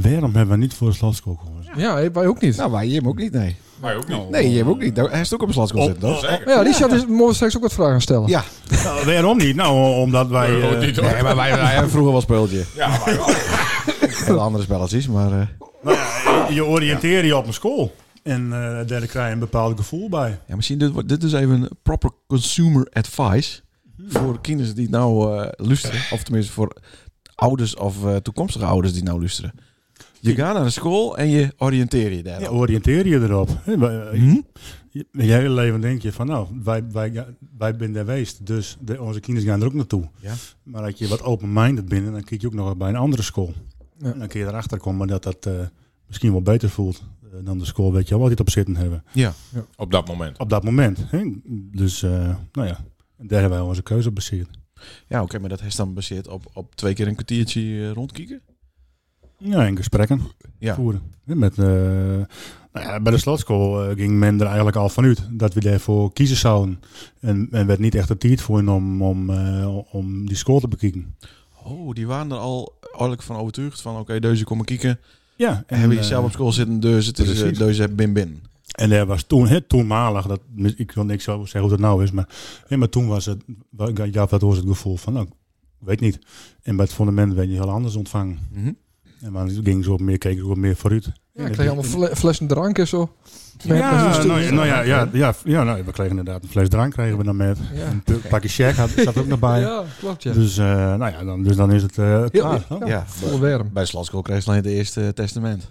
Waarom hebben we niet voor de slotskool gehoord? Ja, wij ook niet. Nou, wij Jim ook niet, nee. Maar ook niet. Nee, Jim ook niet. Daar- Hij is ook op de slatschool zitten, toch? Zeker. Maar ja, Richard is, mogen straks ook wat vragen stellen. Ja. Nou, waarom niet? Nou, omdat wij... Nee, hoort eh, niet, hoor. Nee, maar wij, wij hebben vroeger wel speeltje. Ja, maar wel. Heel andere spelletjes, maar... eh, nou ja, je oriënteer je op een school. En eh daar krijg je een bepaald gevoel bij. Ja, misschien dit, wordt- dit is even een proper consumer advice voor kinderen die het nou eh, luisteren. Of tenminste voor ouders of eh, toekomstige ouders die het nou luisteren. Je gaat naar de school en je oriënteer je daar. Ja, oriënteer je erop. Hè, wij- eh, Hm? Je, je hele leven denk je van nou, wij, wij, wij zijn daar geweest, dus de, onze kinderen gaan er ook naartoe. Ja. Maar als je wat open-minded bent, dan kijk je ook nog bij een andere school. Ja. En dan kun je erachter komen dat dat eh, misschien wel beter voelt eh, dan de school, weet je wel, wat die het op zitten hebben. Op dat moment. Op dat moment. Hè? Dus eh, nou ja, daar hebben wij onze keuze op baseerd. Ja, oké, maar dat is dan baseerd op, op twee keer een kwartiertje eh, rondkieken. Ja, in gesprekken Ja. voeren. Hè, Met, eh, nou ja, bij de slotschool eh, ging men er eigenlijk al vanuit dat we daarvoor kiezen zouden. En, en werd niet echt de tijd voor om, om, eh, om die school te bekijken. Oh, die waren er al ordelijk van overtuigd van oké, deze komen kieken. Ja, En hebben je eh, zelf op school zitten, dus het is eh, precies. deze bin bin. En er was toen, hè, toenmalig, dat, ik wil niks over zeggen hoe dat nou is, maar, hè, maar toen was het, wa- ik had dat was het gevoel van, nou, Weet niet. En bij het fundament werd je heel anders ontvangen. Mhm. En maar ging ze op meer, keken ze op meer vooruit. Ja, ik kreeg allemaal fle- flessen drank en zo. Met- met zo'n Ja, stuk- nou, ja, nou ja, ja, ja, ja nou, we kregen inderdaad een fles drank kregen we dan met. Ja. Een pu- pakje shack had, zat er ook nog bij. Ja, klopt ja. Dus, eh, nou ja, dan, dus dan is het eh klaar. ja. Ja, Ja, Volle werm. bij Slatsko kreeg ze alleen het eerste testament.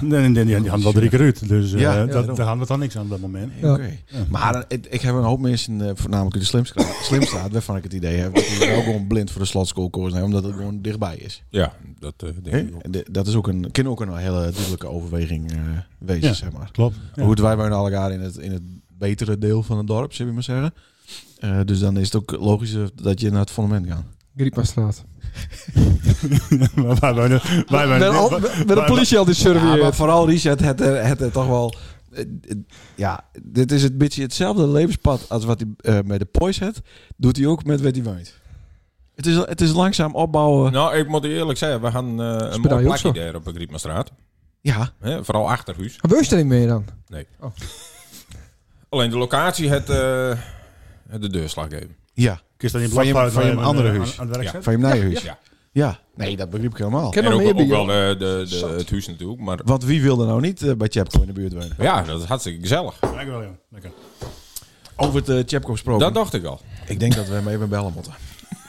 en, en- en- die hadden wel drie keer uit. Dus eh Ja, ja, dat, daarom. daar hadden we dan niks aan op dat moment. Ja. Oké. Maar eh, ik, ik heb een hoop mensen, eh, voornamelijk in de slimstra- Slimstraat, waarvan ik het idee heb, dat die wel gewoon blind voor de slotschoolkoers zijn, omdat het gewoon dichtbij is. Ja, dat eh, denk ik ook. En de- dat is ook een, kan ook een hele duidelijke overweging eh, wezen, Ja. zeg maar. Klopt. Ja. Hoe het wij wonen allegaar in het, in het betere deel van het dorp, zullen we maar zeggen. Eh, dus dan is het ook logischer dat je naar het fundament gaat. Griepastraat. Maar wij wonen- wij wonen- Ben al- ben- ben de politie al dit Ja, maar surveilleren. vooral Richard, het, het, het, het toch wel... eh, eh, Ja, dit is een beetje hetzelfde levenspad als wat hij eh, met de Poys had. Doet hij ook met wat hij woont. Het is, het is langzaam opbouwen. Nou, ik moet eerlijk zeggen, we gaan eh, een Spiraal mooi ook plakje zo. daar op de Griepmastraat. Ja, Hè, Vooral achterhuis. Weus er niet meer dan? Alleen de locatie het, eh, het de deurslag geven. ja. Kun je dat in Van je- blokfluit van je waar andere aan- huis. aan het werk Ja. zet? Van je nijhuis. Ja, Ja. nee, dat begreep ik helemaal. Ken En nog ook, meer ook bij wel jou? de, de, de, het huis natuurlijk. Maar Want wie wilde nou niet eh, bij Chapco in de buurt wonen? ja, dat is hartstikke gezellig. Dank je wel, jongen. Lekker. Over het eh, Chapco gesproken. Dat dacht ik al. Ik denk dat we hem even bellen moeten.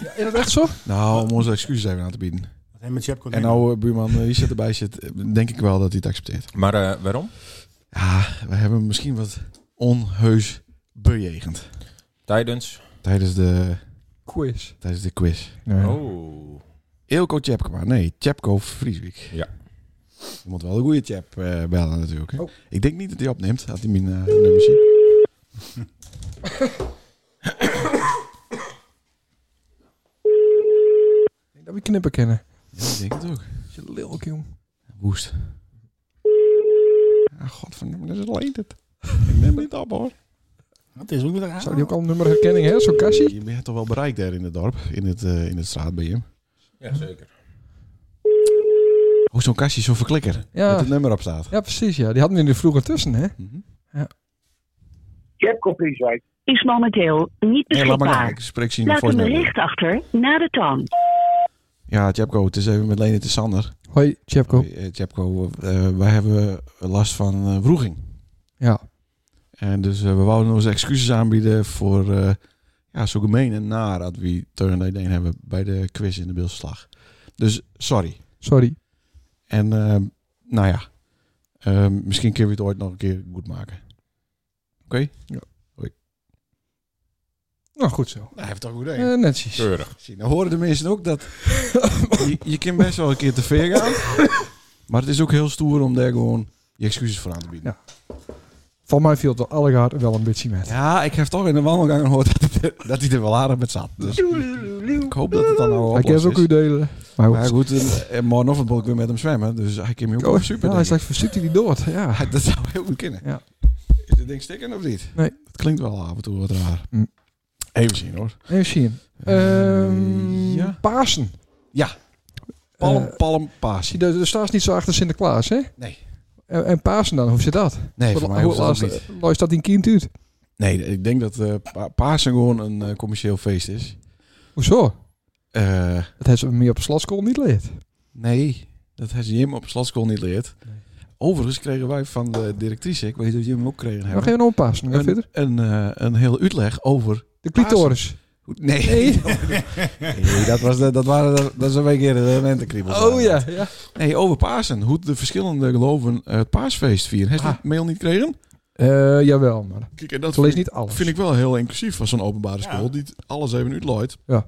Ja, is dat echt zo? Nou, om onze excuses even aan te bieden. Wat hebben we met Jepco En nou, eh, buurman eh, Richard erbij zit, eh, denk ik wel dat hij het accepteert. Maar eh, waarom? Ja, we hebben hem misschien wat onheus bejegend. Tijdens. Tijdens de, Quiz. tijdens de quiz. Oh. Eelco Tjepkema. Nee, Tjepko Frieswijk. Ja. Je moet wel een goede Tjep eh, bellen natuurlijk. hè. Oh. Ik denk niet dat hij opneemt. Had hij mijn eh, nummer zien. Ik denk dat we knippen kennen. Ja, ik denk het ook. Is je lelijk, jong. Woest. Ah, godverdomme, dat is leed het. Ik neem niet op hoor. Het is ook weer Zou die ook al nummerherkenning hebben, zo'n kassie? Je bent toch wel bereikt daar in het dorp, in het, eh, in het straat bij hem. Ja, zeker. Oh, zo'n kastje, zo'n verklikker. Ja. Met het nummer op staat. Ja, precies, ja. Die hadden we in de vroeger tussen, hè? Mhm. Chapco Frieswijk. is momenteel niet Nee, laat maar gaan. beschikbaar. Ik spreek zien Laat voor een je. bericht achter na de toon. Ja, Tjepko, het is even met Lene, het is Sander. Hoi, Chepko. Eh, Tjepko, eh, wij hebben last van eh, wroeging. Ja. En dus eh, we wouden onze excuses aanbieden voor eh, ja, zo gemeen en naar dat we Teun en Leen hebben bij de quiz in de Beelslag. Dus sorry. Sorry. En ehm, nou ja, ehm, misschien kunnen we het ooit nog een keer goed maken. Oké? Nou, goed zo. hij heeft toch goed idee. Eh, netjes. Keurig. Zie, nou horen de mensen ook dat je, je kan best wel een keer te ver gaan. maar het is ook heel stoer om daar gewoon je excuses voor aan te bieden. Van mij viel het wel allegaard wel een beetje met. Ja, ik heb toch in de wandelgang gehoord dat hij er, dat hij er wel aardig met zat. Dus ik hoop dat het dan nou Hij opgelost kent ook is. uw delen. Maar Maar goed. goed, eh, eh, morgenochtend wil ik weer met hem zwemmen. Dus hij kan me ook Oh, op super. ja, hij denk ik. zegt, verziekt hij die dood? Ja. Hij- dat zou heel goed kunnen. Ja. Is dit ding stikken of niet? Nee. Het klinkt wel af en toe wat raar. Hm. Even zien hoor. Even zien. Ehm Eh, ja. Pasen. Ja. Palm, Eh, palm, paas. Zie, daar, daar staat niet zo achter Sinterklaas, hè? Nee. En, en Pasen dan, hoe zit dat? Nee, voor mij hoeft dat ook niet. Lois dat in kind uit? Nee, ik denk dat eh, pa- Pasen gewoon een eh, commercieel feest is. Hoezo? Eh, Dat hebben ze meer op slotschool niet leerd. nee, dat heeft Jim op slotschool niet geleerd. Nee. Overigens kregen wij van de directrice, ik weet dat Jim hem ook kregen Nog hebben, even nog Pasen. nog een, verder. een, eh, een hele uitleg over... De clitoris. hoe- Nee, Nee, dat, was de, dat, waren de- dat is een week eerder de lentekriebels. Oh ja, ja. Nee, over Pasen. Hoe de verschillende geloven eh, het paasfeest vieren. Heeft je Ah. die mail niet gekregen? Eh, jawel, maar Kijk, en dat ik lees niet alles. vind ik wel heel inclusief van zo'n openbare school. Ja. Die het alles even uitlooit. Ja.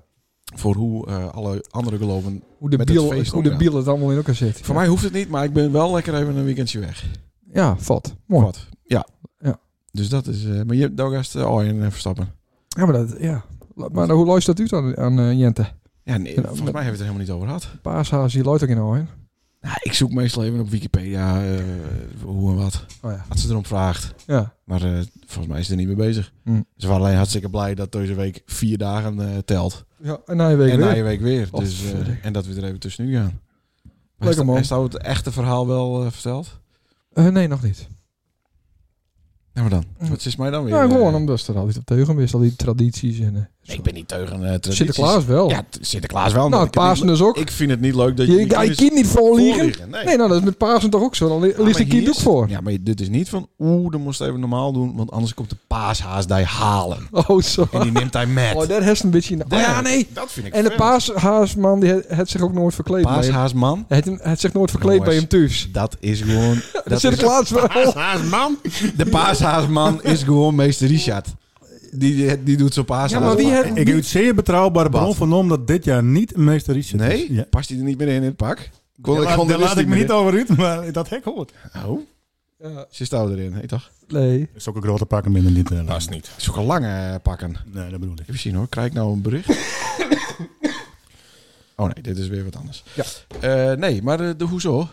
Voor hoe eh, alle andere geloven hoe de met het biel, feest hoe de omgaan. biel het allemaal in elkaar zit. Voor mij hoeft het niet, maar ik ben wel lekker even een weekendje weg. Ja, vat. Mooi. Wat? Ja. Ja. Dus dat is... eh, maar je hebt Daugast uh, Arjen en Verstappen. Ja, maar dat, ja. La- Maar hoe luistert dat u dan aan eh, Jente? Ja, nee, Ja, volgens maar- mij hebben we het er helemaal niet over gehad. Paashaas, die luidt ook in hoor. Nou, ik zoek meestal even op Wikipedia eh, hoe en wat. Oh ja. Als ze erom vraagt. Ja. Maar eh, volgens mij is ze er niet mee bezig. Hm. Ze waren alleen hartstikke blij dat deze week vier dagen eh, telt. ja en na je week en weer. na je week weer. Oh, Dus, eh, verdikke. en dat we er even tussenuit gaan. Maar Lekker, is- man. Is nou het echte verhaal wel eh, verteld? Eh, nee, nog niet. Nou, maar dan. Wat is mij dan weer? Ja, eh, gewoon omdat ze er altijd op teugen is, al die tradities en eh, Nee, ik ben niet tegen eh tradities. Sinterklaas wel. Ja, t- Sinterklaas wel. maar nou, ik vind het Pasen niet- dus ook. Ik vind het niet leuk dat je je kan je kind niet voorliegen. voorliegen, Nee, nou, dat is met Pasen toch ook zo. Dan Ja, li- ligt maar een kind hier ook is- voor. Ja, maar dit is niet van... Oeh, dan moest hij even normaal doen, want anders komt de paashaas die halen. Oh, zo. En die neemt hij met. Oh, daar heeft een beetje... in- Oh, ja, nee. Dat vind ik En de vervelend. paashaasman, die het- het zich ook nooit verkleed. bij hem. paashaasman, Hij heeft hem- hij heeft zich nooit verkleed Jongens. bij hem thuis. dat is gewoon... Dat is, Sinterklaas wel. ah, man! de paashaasman is gewoon meester Richard. Die, die, die doet zo'n paashaas. Ja, maar wie heeft... Ik heb het zeer betrouwbare bron Wat? vernomen dat dit jaar niet een meester Richard is. Nee? Ja. Past hij er niet meer in in het pak? Kon, Daar ik kon laat, daar de laat ik list me niet meer over uit, maar dat hek hoort. in. Oh, Ja, ze staan erin. Hé, toch? Nee. Is ook een grote pakken binnen niet. eh, Past Nou, niet. Zulke lange eh, pakken. Nee, dat bedoel ik. Even zien hoor, krijg ik nou een bericht? oh nee, dit is weer wat anders. Ja. Eh, nee, maar de, de hoezo?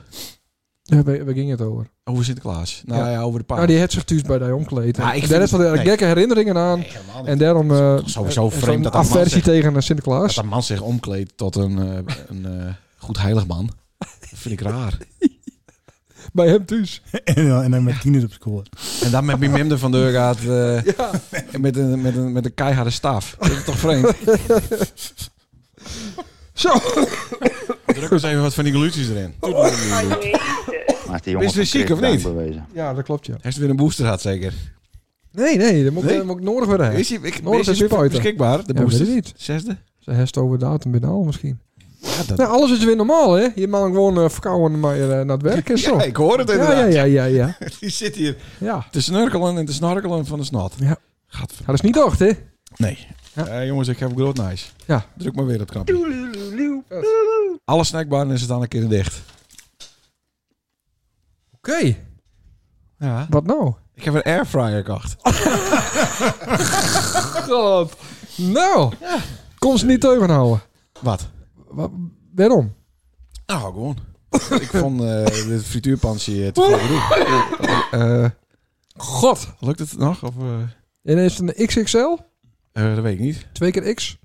Ja, waar, waar ging het over? Over Sinterklaas. Nou ja, over de paas. Nou, die heeft zich thuis bij die omkleed. En Ah, ik daar vind is wel het- nee. gekke herinneringen aan. Nee, helemaal niet. En daarom... eh, sowieso een- een vreemd dat een man aversie zegt- tegen eh, Dat Sinterklaas. een man zich omkleedt tot een, eh, een eh, goed heilig man. Dat vind ik raar. Bij hem thuis. en, dan- en dan met tieners op school. En dan met Mimimde van deur gaat eh, Ja. met, een, met, een, met een keiharde staaf. Dat is toch vreemd? Zo. Druk eens even wat van die gluties erin. Maar die jongen jongen Oh, Is hij van ziek of Krekel niet? Bewezen. Ja, dat klopt, ja. Heeft ze weer een booster gehad zeker? Nee, nee, dat moet, Nee? dat moet ik nodig weer hebben. Is hij ik, Nodig is hij is weer buiten. beschikbaar? De Ja, booster? weet ik niet. Zesde? Ze heeft over datum binnen al misschien. Ja, dat, Nou, alles is weer normaal, hè? Je mag gewoon eh, verkouden maar eh, naar het werk en zo. Ja, ik hoor het ja, inderdaad. ja, ja, ja, ja. Die zit hier Ja. te snurkelen en te snorkelen van de snot. Ja. Gaat Dat is niet dacht, hè? Nee. Ja. Eh, jongens, ik heb een groot nice. Ja. Druk maar weer dat knapje. Alle snackbaren is het aan een keer dicht. Oké. Ja. Wat nou? Ik heb een airfryer gekocht. God. Nou. Kom ze niet tegenhouden. Wat? Wa- Waarom? Nou, gewoon. ik vond eh dit frituurpansje eh, te veel gedoe. Eh, eh, God. lukt het nog? Of, eh, En is het een XXL? eh, dat weet ik niet. Twee keer X?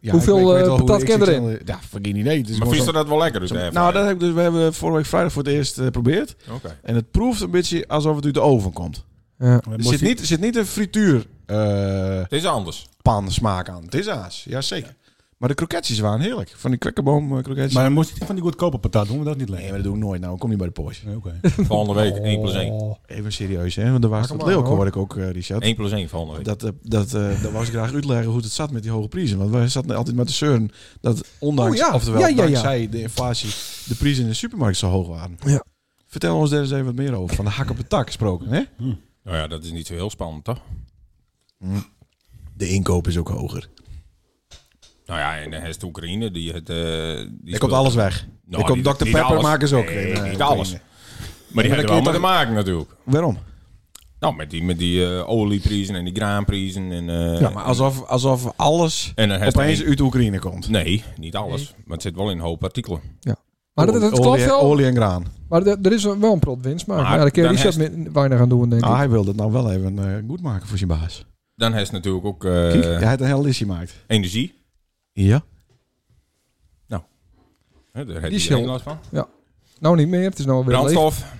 Ja, Hoeveel, ik, ik weet eh, wel hoe de patat ken erin? XXL Ja, geen idee. Het is Maar gewoon vies zo- dat wel lekker? Dus zo- even. nou, dat heb ik dus, we hebben vorige week vrijdag voor het eerst eh, geprobeerd. Oké. en het proeft een beetje alsof het uit de oven komt. Ja. Er zit niet, er zit niet een frituur... eh, Het is anders. pan smaak aan. Het is aas, jazeker. Maar de kroketjes waren heerlijk. Van die kwekkenboom eh, kroketjes. Maar dan moest je niet van die goedkope patat doen, want dat is niet nee, lekker. maar dat doe ik nooit. Nou, kom niet bij de Porsche. Nee, oké. Volgende week 1 plus 1. Oh. Even serieus, hè? Want er was Pak hem dat aan, leuk, hoor. hoorde ik ook, eh, Richard. 1 plus 1 volgende week. Dat, eh, dat, eh dat was ik graag uitleggen hoe het zat met die hoge prijzen. Want wij zaten altijd met de zeuren dat ondanks, Oh, ja. oftewel Ja, ja, ja. dankzij de inflatie, de prijzen in de supermarkt zo hoog waren. Ja. Vertel ons daar eens even wat meer over. Van de hak op de tak gesproken, hè? Nou ja, dat is niet zo heel spannend, toch? De inkoop is ook hoger. Nou ja, en dan heeft de Oekraïne die het... eh, die Er komt alles weg. Nou, er komt niet- Dr. niet Pepper alles. maken ze ook. Nee, in, eh, niet Oekraïne. alles. Maar die Ja, hebben dan wel kun mee je te maken natuurlijk. Waarom? Nou, met die, met die eh, olieprijzen en die graanprijzen. En, eh, Ja, maar alsof, alsof alles en dan heeft opeens hij- uit Oekraïne komt. Nee, niet alles. Maar het zit wel in een hoop artikelen. Maar dat, dat Olie- klopt wel. Olie en graan. Maar d- er is wel een prop winst. Maar, Maar ja, daar kun je dan Richard met- weinig aan doen, denk ik. Nou, hij wil dat nou wel even eh, goed maken voor zijn baas. Dan heeft hij natuurlijk ook Kijk, eh, hij heeft een hele listje gemaakt. energie. Ja. Hè, daar heeft Die iedereen Shell. last van. Nou, niet meer. Het is nou weer leeg. Brandstof.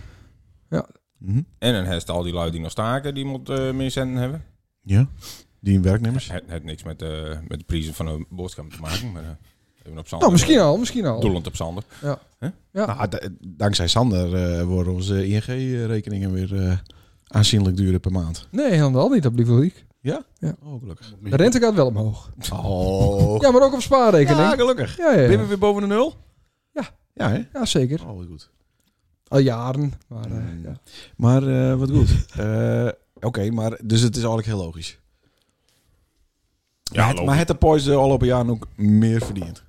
En dan heeft hij al die lui die nog staken, die moet eh, meer centen hebben. Ja. Die werknemers. Het heeft niks met, eh, met de prijzen van een boodschap te maken. Maar, eh, even op Sander. Nou, misschien al. Misschien al. Doelend op Sander. Nou, d- dankzij Sander eh, worden onze ING-rekeningen weer eh, aanzienlijk duurder per maand. Nee, helemaal niet. Dat blijft wel leuk. Oh, gelukkig. De rente gaat wel omhoog. Oh. Ja, maar ook op spaarrekening. Ja, Ja, gelukkig. ja, Ben ja. je weer boven de nul? Ja. Ja, hè? Ja, zeker. Oh, wat goed. Al jaren. Maar, eh, Mm. ja. Maar eh, wat goed. Eh, Oké, maar dus het is eigenlijk heel logisch. Ja, maar, het, logisch. maar het de Poise al op een jaar ook meer verdiend.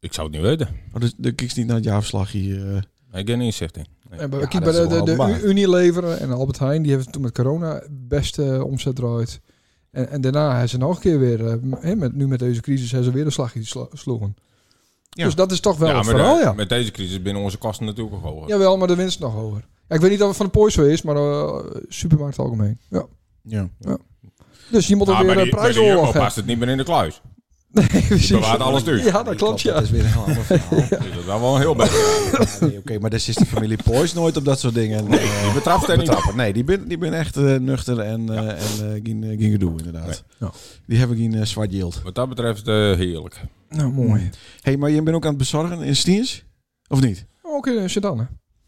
Ik zou het niet weten. Oh, dus de kijk niet naar het jaarverslag hier. eh. Ik heb een inzicht in. Nee. En bij- Ja, kijk, dat bij is de, wel de, de waar. Unilever en Albert Heijn, die hebben toen met corona beste omzet draait. En, en daarna hebben ze nog een keer weer, eh, m- hè, met, nu met deze crisis, hebben ze weer een slagje sla- sloegen. Ja. Dus dat is toch wel ja, het maar verhaal, de- ja. met deze crisis binnen onze kosten natuurlijk ook hoger. Jawel, maar de winst is nog hoger. Ja, ik weet niet of het van de pooi zo is, maar eh, supermarkt algemeen. Ja. Ja. Ah, Dus je moet er Ah, weer bij een die- Ah, bij die Jumbo prijsoorlog hebben. past het niet meer in de kluis. Precies. bewaart alles duur. Ja, dat klopt, ja. Dat is weer een heel ander verhaal. Dus Dat is wel wel een heel beetje. Nee, Oké, maar dus is de familie Poys nooit op dat soort dingen. Nee, Je betrapt er niet. betrappen. Nee, die ben, die ben echt eh, nuchter en, eh, en eh, geen, eh, geen gedoe inderdaad. Ja. Die hebben geen eh, zwart yield. Wat dat betreft eh, heerlijk. Nou, Mm. mooi. hey, maar je bent ook aan het bezorgen in Stiens? Of niet? Oké, eh, okay, dan.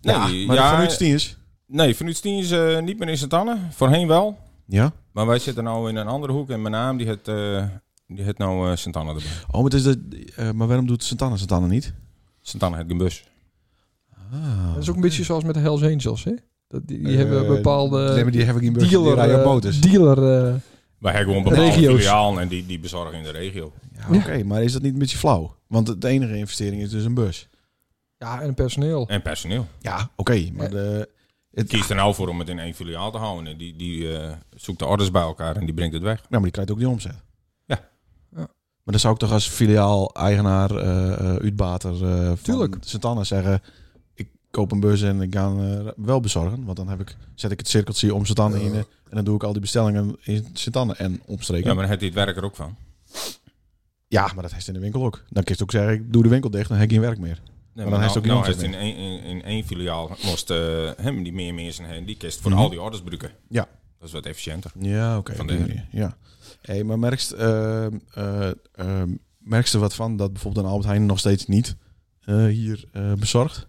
Nee, maar ja, vanuit Stiens? Nee, vanuit Stien is eh, niet meer in Sint-Anne. Voorheen wel. Ja. Maar wij zitten nou in een andere hoek. En mijn naam die het, eh, die het nou eh, Sint-Anne erbij. Oh, maar, het is dat, eh, maar waarom doet Santana Santana niet? Sint-Anne het een bus. Ah. Dat is ook een beetje zoals met de Hells Angels, hè? Dat, die die Eh, hebben bepaalde nee, maar die hebben geen burger, die dealer... rijden op eh, motors. dealer eh, Wij hebben gewoon bepaalde Regio's. filialen en die, die bezorgen in de regio. Ja, Oké, maar is dat niet een beetje flauw? Want de enige investering is dus een bus. ja, en personeel. En personeel. Ja, oké, maar Eh, de... Het, Kies er nou voor om het in één filiaal te houden. En die die eh, zoekt de orders bij elkaar en die brengt het weg. Nou, maar die krijgt ook die omzet. Ja. Ja. Maar dan zou ik toch als filiaal-eigenaar, eh, eh, uitbater eh, van Tuurlijk. Sint-Anna zeggen... ik koop een bus en ik ga hem, eh, wel bezorgen. Want dan heb ik, zet ik het cirkeltje om Sint-Anna in... eh, en dan doe ik al die bestellingen in Sint-Anna en omstreken. Ja, maar dan heeft hij het werk er ook van. dat heeft in de winkel ook. Dan kun je ook zeggen, ik doe de winkel dicht... dan heb ik geen werk meer. Nee, dan maar heeft nou, hij ook nou geen heeft in, één, in, in één filiaal moest eh, hem die meer mensen heen. Die kist voor Mhm. al die orders gebruiken. Ja. Dat is wat efficiënter. Ja, oké. Van op de- die manier, Ja. Hey, maar merkst, eh, eh, eh, merkst er wat van dat bijvoorbeeld een Albert Heijn nog steeds niet eh, hier eh, bezorgt?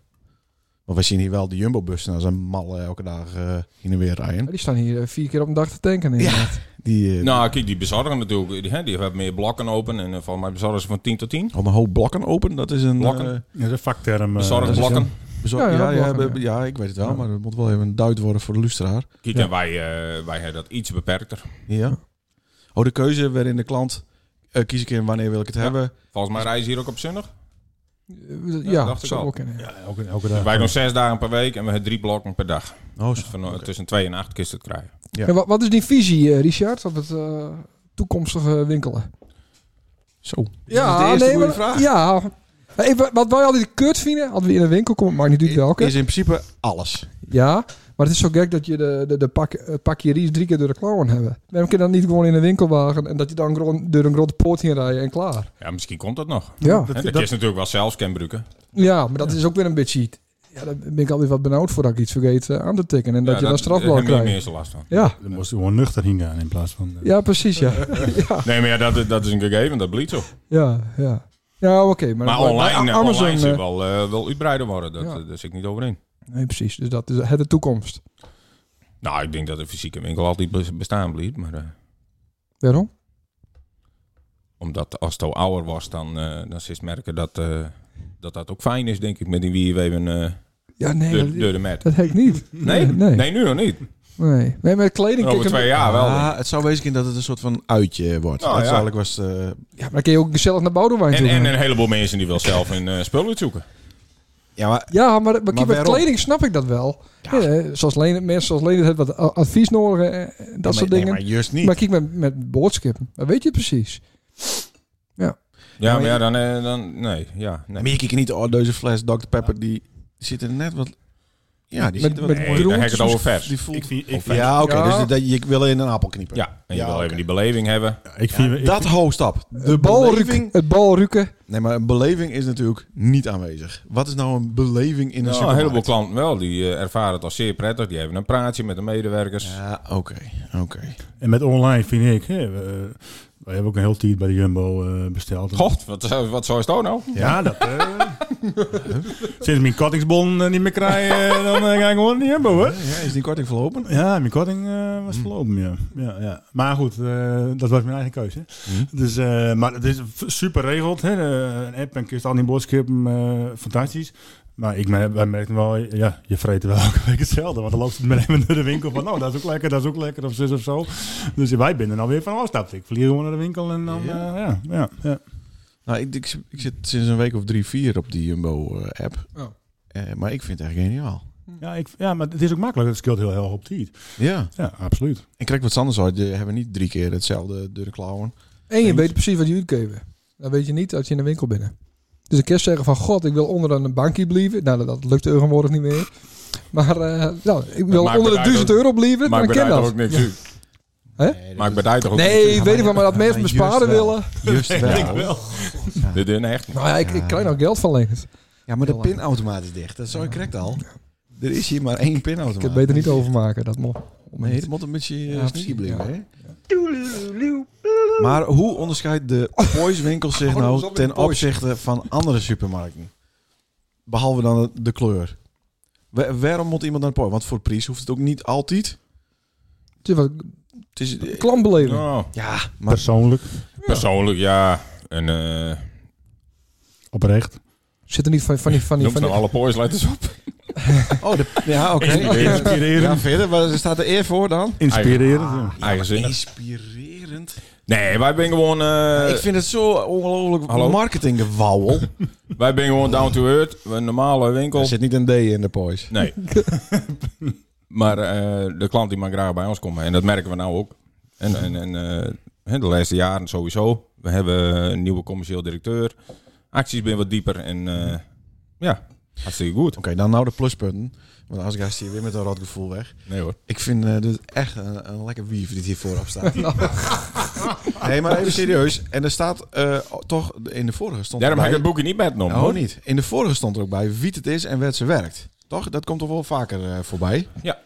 Want wij zien hier wel de Jumbo-bussen als een malle elke dag eh heen en weer rijden. Die staan hier eh, vier keer op een dag te tanken. inderdaad. Die, eh, Nou, kijk, die bezorgen natuurlijk. Die, hè, die hebben meer blokken open. En van volgens mij bezorgen ze van 10 tot 10. om een hoop blokken open, dat is een... Blokken? eh, Ja, dat is een vakterm. eh, Bezorgen blokken. bezor- Ja, ja, ja, ja, blokken, we- ja. ik weet het wel, maar dat moet wel even een duid worden voor de luisteraar. Kijk, en wij, eh, wij hebben dat iets beperkter. Ja. Oh, de keuze waarin de klant eh, kies ik in wanneer wil ik het hebben. Volgens Dus- mij reizen ze hier ook op zondag. Eh, Ja, Ja, dacht dat ik zou al. ook kunnen. Ja. Ja, elke, elke dag. Wij doen zes dagen per week en we hebben drie blokken per dag. Oh, Dus van, eh, tussen twee en acht kisten te krijgen. Ja. En wat, wat is die visie, eh, Richard, op het eh, toekomstige winkelen? Zo. Ja, de eerste nee, goede maar- vraag. Ja. Hey, wa- wat wij altijd kut vinden, als we in een winkel komen, maakt niet uit welke. Is in principe alles. Ja, maar het is zo gek dat je de, de, de pak, eh, pakje ries drie keer door de klauwen hebben. Waarom kun je dan niet gewoon in een winkelwagen en dat je dan gewoon door een grote poort heen rijden en klaar? Ja, misschien komt dat nog. Ja, Dat, dat, dat- is natuurlijk wel zelfs kenbruiken. ja maar dat is ook weer een beetje... Ja, daar ben ik altijd wat benauwd voor dat ik iets vergeet eh, aan te tikken en dat je dan strafblad Daar hebben krijgt. mensen last van. Ja, Dan moest hij gewoon nuchter heen gaan in plaats van... eh, ja, precies, ja. Ah. Nee, maar ja, dat, is- dat is een gegeven. Dat blijft zo. Ja, ja. Ja, oké. maar Maar bij- bij online, eh, Amazon, online eh, zal wel, eh, wel uitbreider worden. Dat, Ja. eh, Daar zit ik niet over in. Nee, precies. Dus dat is het de toekomst. Nou, ik denk dat de fysieke winkel altijd bes- bestaan blijft. Maar eh, Waarom? omdat als het al ouder was, dan, eh dan is merken dat, eh, dat dat ook fijn is, denk ik. Met die wierweven eh Ja, nee, deur, dat, deur de mat. dat heb ik niet. Nee? Nee. Nee. nu nog niet. Nee, nee met kleding... Over kijk, twee jaar wel. Ah, het zou wezen in dat het een soort van uitje wordt. Nou, dat is ja. eigenlijk was eh, Ja, maar dan kun je ook gezellig naar Boudewijn En, toe en gaan. een heleboel mensen die wel zelf een eh spul uitzoeken. ja, maar Ja, maar, maar, kijk, met waarom? kleding snap ik dat wel. Ja, zoals Leen, mensen zoals Leen hebben wat a- advies nodig, eh, eh, dat nee, soort nee, dingen. maar juist niet. maar kijk, met, met boodskippen, dan weet je het precies. Ja, maar maar ja, je- dan... eh, dan nee, ja, nee. maar je kijkt niet, oh, deze fles Dr Pepper die zit er net wat. Ja, die Met- zit er met wat. Nee, daar heb ik het over vers. Die voelt. Ik vind, ik vind, ja, oké. Ja. Dus dat, je wil in een appel kniepen. Ja, en je Ja, wil oké. even die beleving hebben. ik vind, ik- Dat hoogstap. De Het balruken, beleving. het balruken. Nee, maar een beleving is natuurlijk niet aanwezig. Wat is nou een beleving in een Nou, een heleboel supermarkt? klanten wel. Die eh, ervaren het als zeer prettig. Die hebben een praatje met de medewerkers. Ja, oké, oké. en met online vind ik... hè, we, eh, wij hebben ook een heel tijd bij de Jumbo eh, besteld. God, wat, zou- wat zou is dat nou? Ja, dat... eh, sinds mijn kortingsbon eh, niet meer krijg, eh, dan eh, ga ik gewoon naar de Jumbo, hoor. Ja, is die korting verlopen? Hm. Ja, mijn korting eh, was verlopen, ja. Ja, ja. Maar goed, eh, dat was mijn eigen keuze. Hm. Dus, eh, maar het is v- super regeld. Hè? Eh, een app en kun je al die boodschappen, eh, fantastisch. Maar ik mer- wij merken wel, ja, je vreet wel elke week hetzelfde. Want dan loopt het met even door de winkel van, nou, dat is ook lekker, dat is ook lekker, of zus of zo. Dus wij binnen dan weer van, oh, snap ik. Vliegen gewoon naar de winkel en dan, eh, ja, ja, ja. Nou, ik, ik, ik zit sinds een week of drie, vier op die Jumbo-app. Oh. eh, maar ik vind het echt geniaal. Ja, ik, ja, maar het is ook makkelijk. Het scheelt heel heel erg op tijd. Ja. Ja, absoluut. Ik krijg wat anders uit. Je hebben niet drie keer hetzelfde door de klauwen. En je weet precies wat je uitgeven. Dan weet je niet als je in de winkel binnen. Dus ik kan zeggen van, god, ik wil onder een bankje blijven. Nou, dat, dat lukt tegenwoordig niet meer. Maar eh, nou, ik wil maakt onder de eruit 1000 ook- euro blijven, dan Maakt ken daar dat. ook niks uit. Maar ik ben daar toch ook... Nee, weet ik wel, maar dat mensen me juist sparen wel. willen. Juist wel. De dun echt. Nou ja, ik, ik krijg nou geld van Leendert. Ja, maar de pinautomaat is dicht. Dat is zo correct al. Er is hier maar één pinautomaat. Ik kan het beter niet overmaken, dat mo. Nee, dat moet een beetje eh, Ja, sneaky precies, blijven, ja. hè? Maar hoe onderscheidt de Poys winkel zich Oh, dat was nou ook weer ten Poys. opzichte van andere supermarkten? Behalve dan de- de kleur. Wa- waarom moet iemand naar de Poys? Want voor prijs hoeft het ook niet altijd. Het is wat Het is, eh, klantbeleving. Nou, ja, maar Persoonlijk, persoonlijk, ja. En eh oprecht. Zit er niet van, van die... Van die, noem ze van nou die alle boys, let eens op. Oh, de, ja, oké. Inspirerend. Ja, verder, waar staat de eer voor dan? Inspirerend. Ah, ja. Eigenzinnig. Inspirerend. Nee, wij ben gewoon... eh, ik vind het zo ongelooflijk Hallo? marketinggewauwel. Wij ben gewoon down to earth. Een normale winkel. Er zit niet een D in de Poys. Nee. maar eh, de klant die maar graag bij ons komen. En dat merken we nou ook. En, en, en eh, hè, de laatste jaren sowieso. We hebben een nieuwe commercieel directeur. Acties ben wat dieper. En eh, ja, hartstikke goed. Oké, dan nou de pluspunten. Want als ik hier weer met een rot gevoel weg. Nee hoor. Ik vind eh, dit echt een, een lekker wief dit hier voorop staat. Nee, maar even serieus. En er staat eh, toch in de vorige stond. Daarom heb ik erbij- het boekje niet metgenomen. Oh, hoor. niet. In de vorige stond er ook bij wie het is en waar ze werkt. Toch? Dat komt toch wel vaker eh, voorbij. Ja.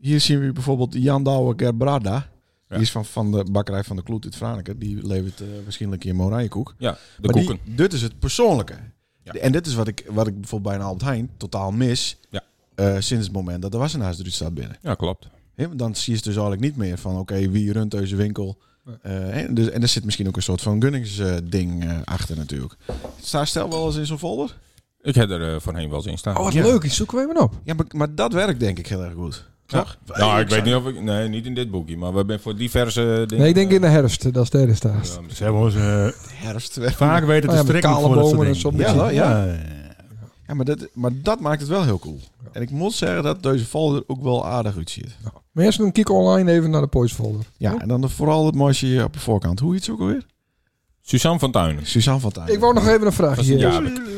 Hier zien we bijvoorbeeld Jan Douwe Gerbrada. Ja. Die is van, van de bakkerij van de Kloet uit Franeker. Die levert eh, waarschijnlijk hier Moranjekoek. Ja, de maar koeken. Die, dit is het persoonlijke. Ja. En dit is wat ik, wat ik bijvoorbeeld bij een Albert Heijn totaal mis. Ja. eh, sinds het moment dat de wassenaars eruit staat binnen. Ja, klopt. Hè, want dan zie je het dus eigenlijk niet meer van... oké, wie runt deze winkel? Nee. Eh, hè, dus, en er zit misschien ook een soort van gunningsding eh, achter natuurlijk. Staat stel wel eens in zo'n folder? Ik heb er eh, voorheen wel eens in staan. oh, wat Ja. leuk, die zoeken we even op. Ja, maar, maar dat werkt denk ik heel erg goed. Toch? nou, ik weet niet of ik... Nee, niet in dit boekje. Maar we zijn voor diverse dingen... Nee, ik denk in de herfst, eh, dat is de herfst daar. Ja, Ze hebben ons eh, Herfst. vaak weten Oh te ja, met strikken kale voor dat soort bomen en dingen. zo. Ja, wel, ja. eh, Ja, maar dat, maar dat maakt het wel heel cool. En ik moet zeggen dat deze folder ook wel aardig uitziet. Maar eerst een kijk online even naar de Poys folder. Ja, en dan de- vooral het mooiste hier op de voorkant. Hoe heet ze ook alweer? Suzanne van Tuinen. Suzanne van Tuin. Ik wou nog even een vraagje. eh, Dat is een hier. jaar.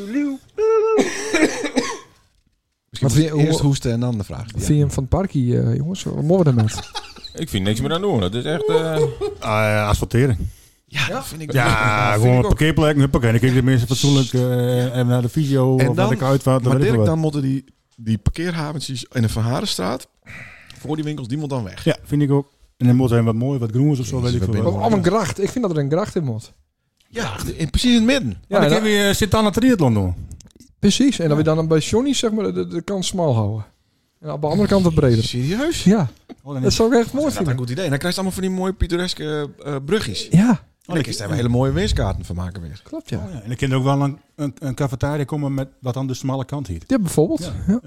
Misschien Wat moet vind je- je eerst hoe- hoesten en dan de vraag. Wat Ja. Vind je hem van het parkje, eh, jongens? Wat moeten we daarmee? Ik vind niks meer aan doen. Dat is echt... eh, eh, asfaltering. Ja, dat vind ik Ja, gewoon een parkeerplek. Huppakee. Dan kijk je mensen fatsoenlijk eh, even naar de video En of naar dan- de uitvaart. Maar weet ik Dirk, veel dan moeten die, die parkeerhaventjes in de Van Harenstraat... voor die winkels, die moet dan weg. wat. Ja, vind ik ook. En dan moet zijn wat mooi, wat groens of zo, Jezus, weet ik wat veel. ben wat. je- Oh, een gracht. Ik vind dat er een gracht in moet. Ja, in, precies in het midden. Ja, en dan dan- heb je zit aan het triathlon doen. Precies. En dat we dan bij Johnny zeg maar, de, de kant smal houden. En aan de andere kant wat breder. Serieus? Ja, Oh, dan dat is zou ik echt mooi Dat is een vinden. goed idee. En dan krijg je allemaal van die mooie pittoreske eh, brugjes. Ja, En dan kun je daar weer hele mooie winstkaarten van maken weer. klopt ja. Oh ja, En dan kan er ook wel een, een, een cafetaria komen met wat aan de smalle kant hier. Ja, bijvoorbeeld. Ja.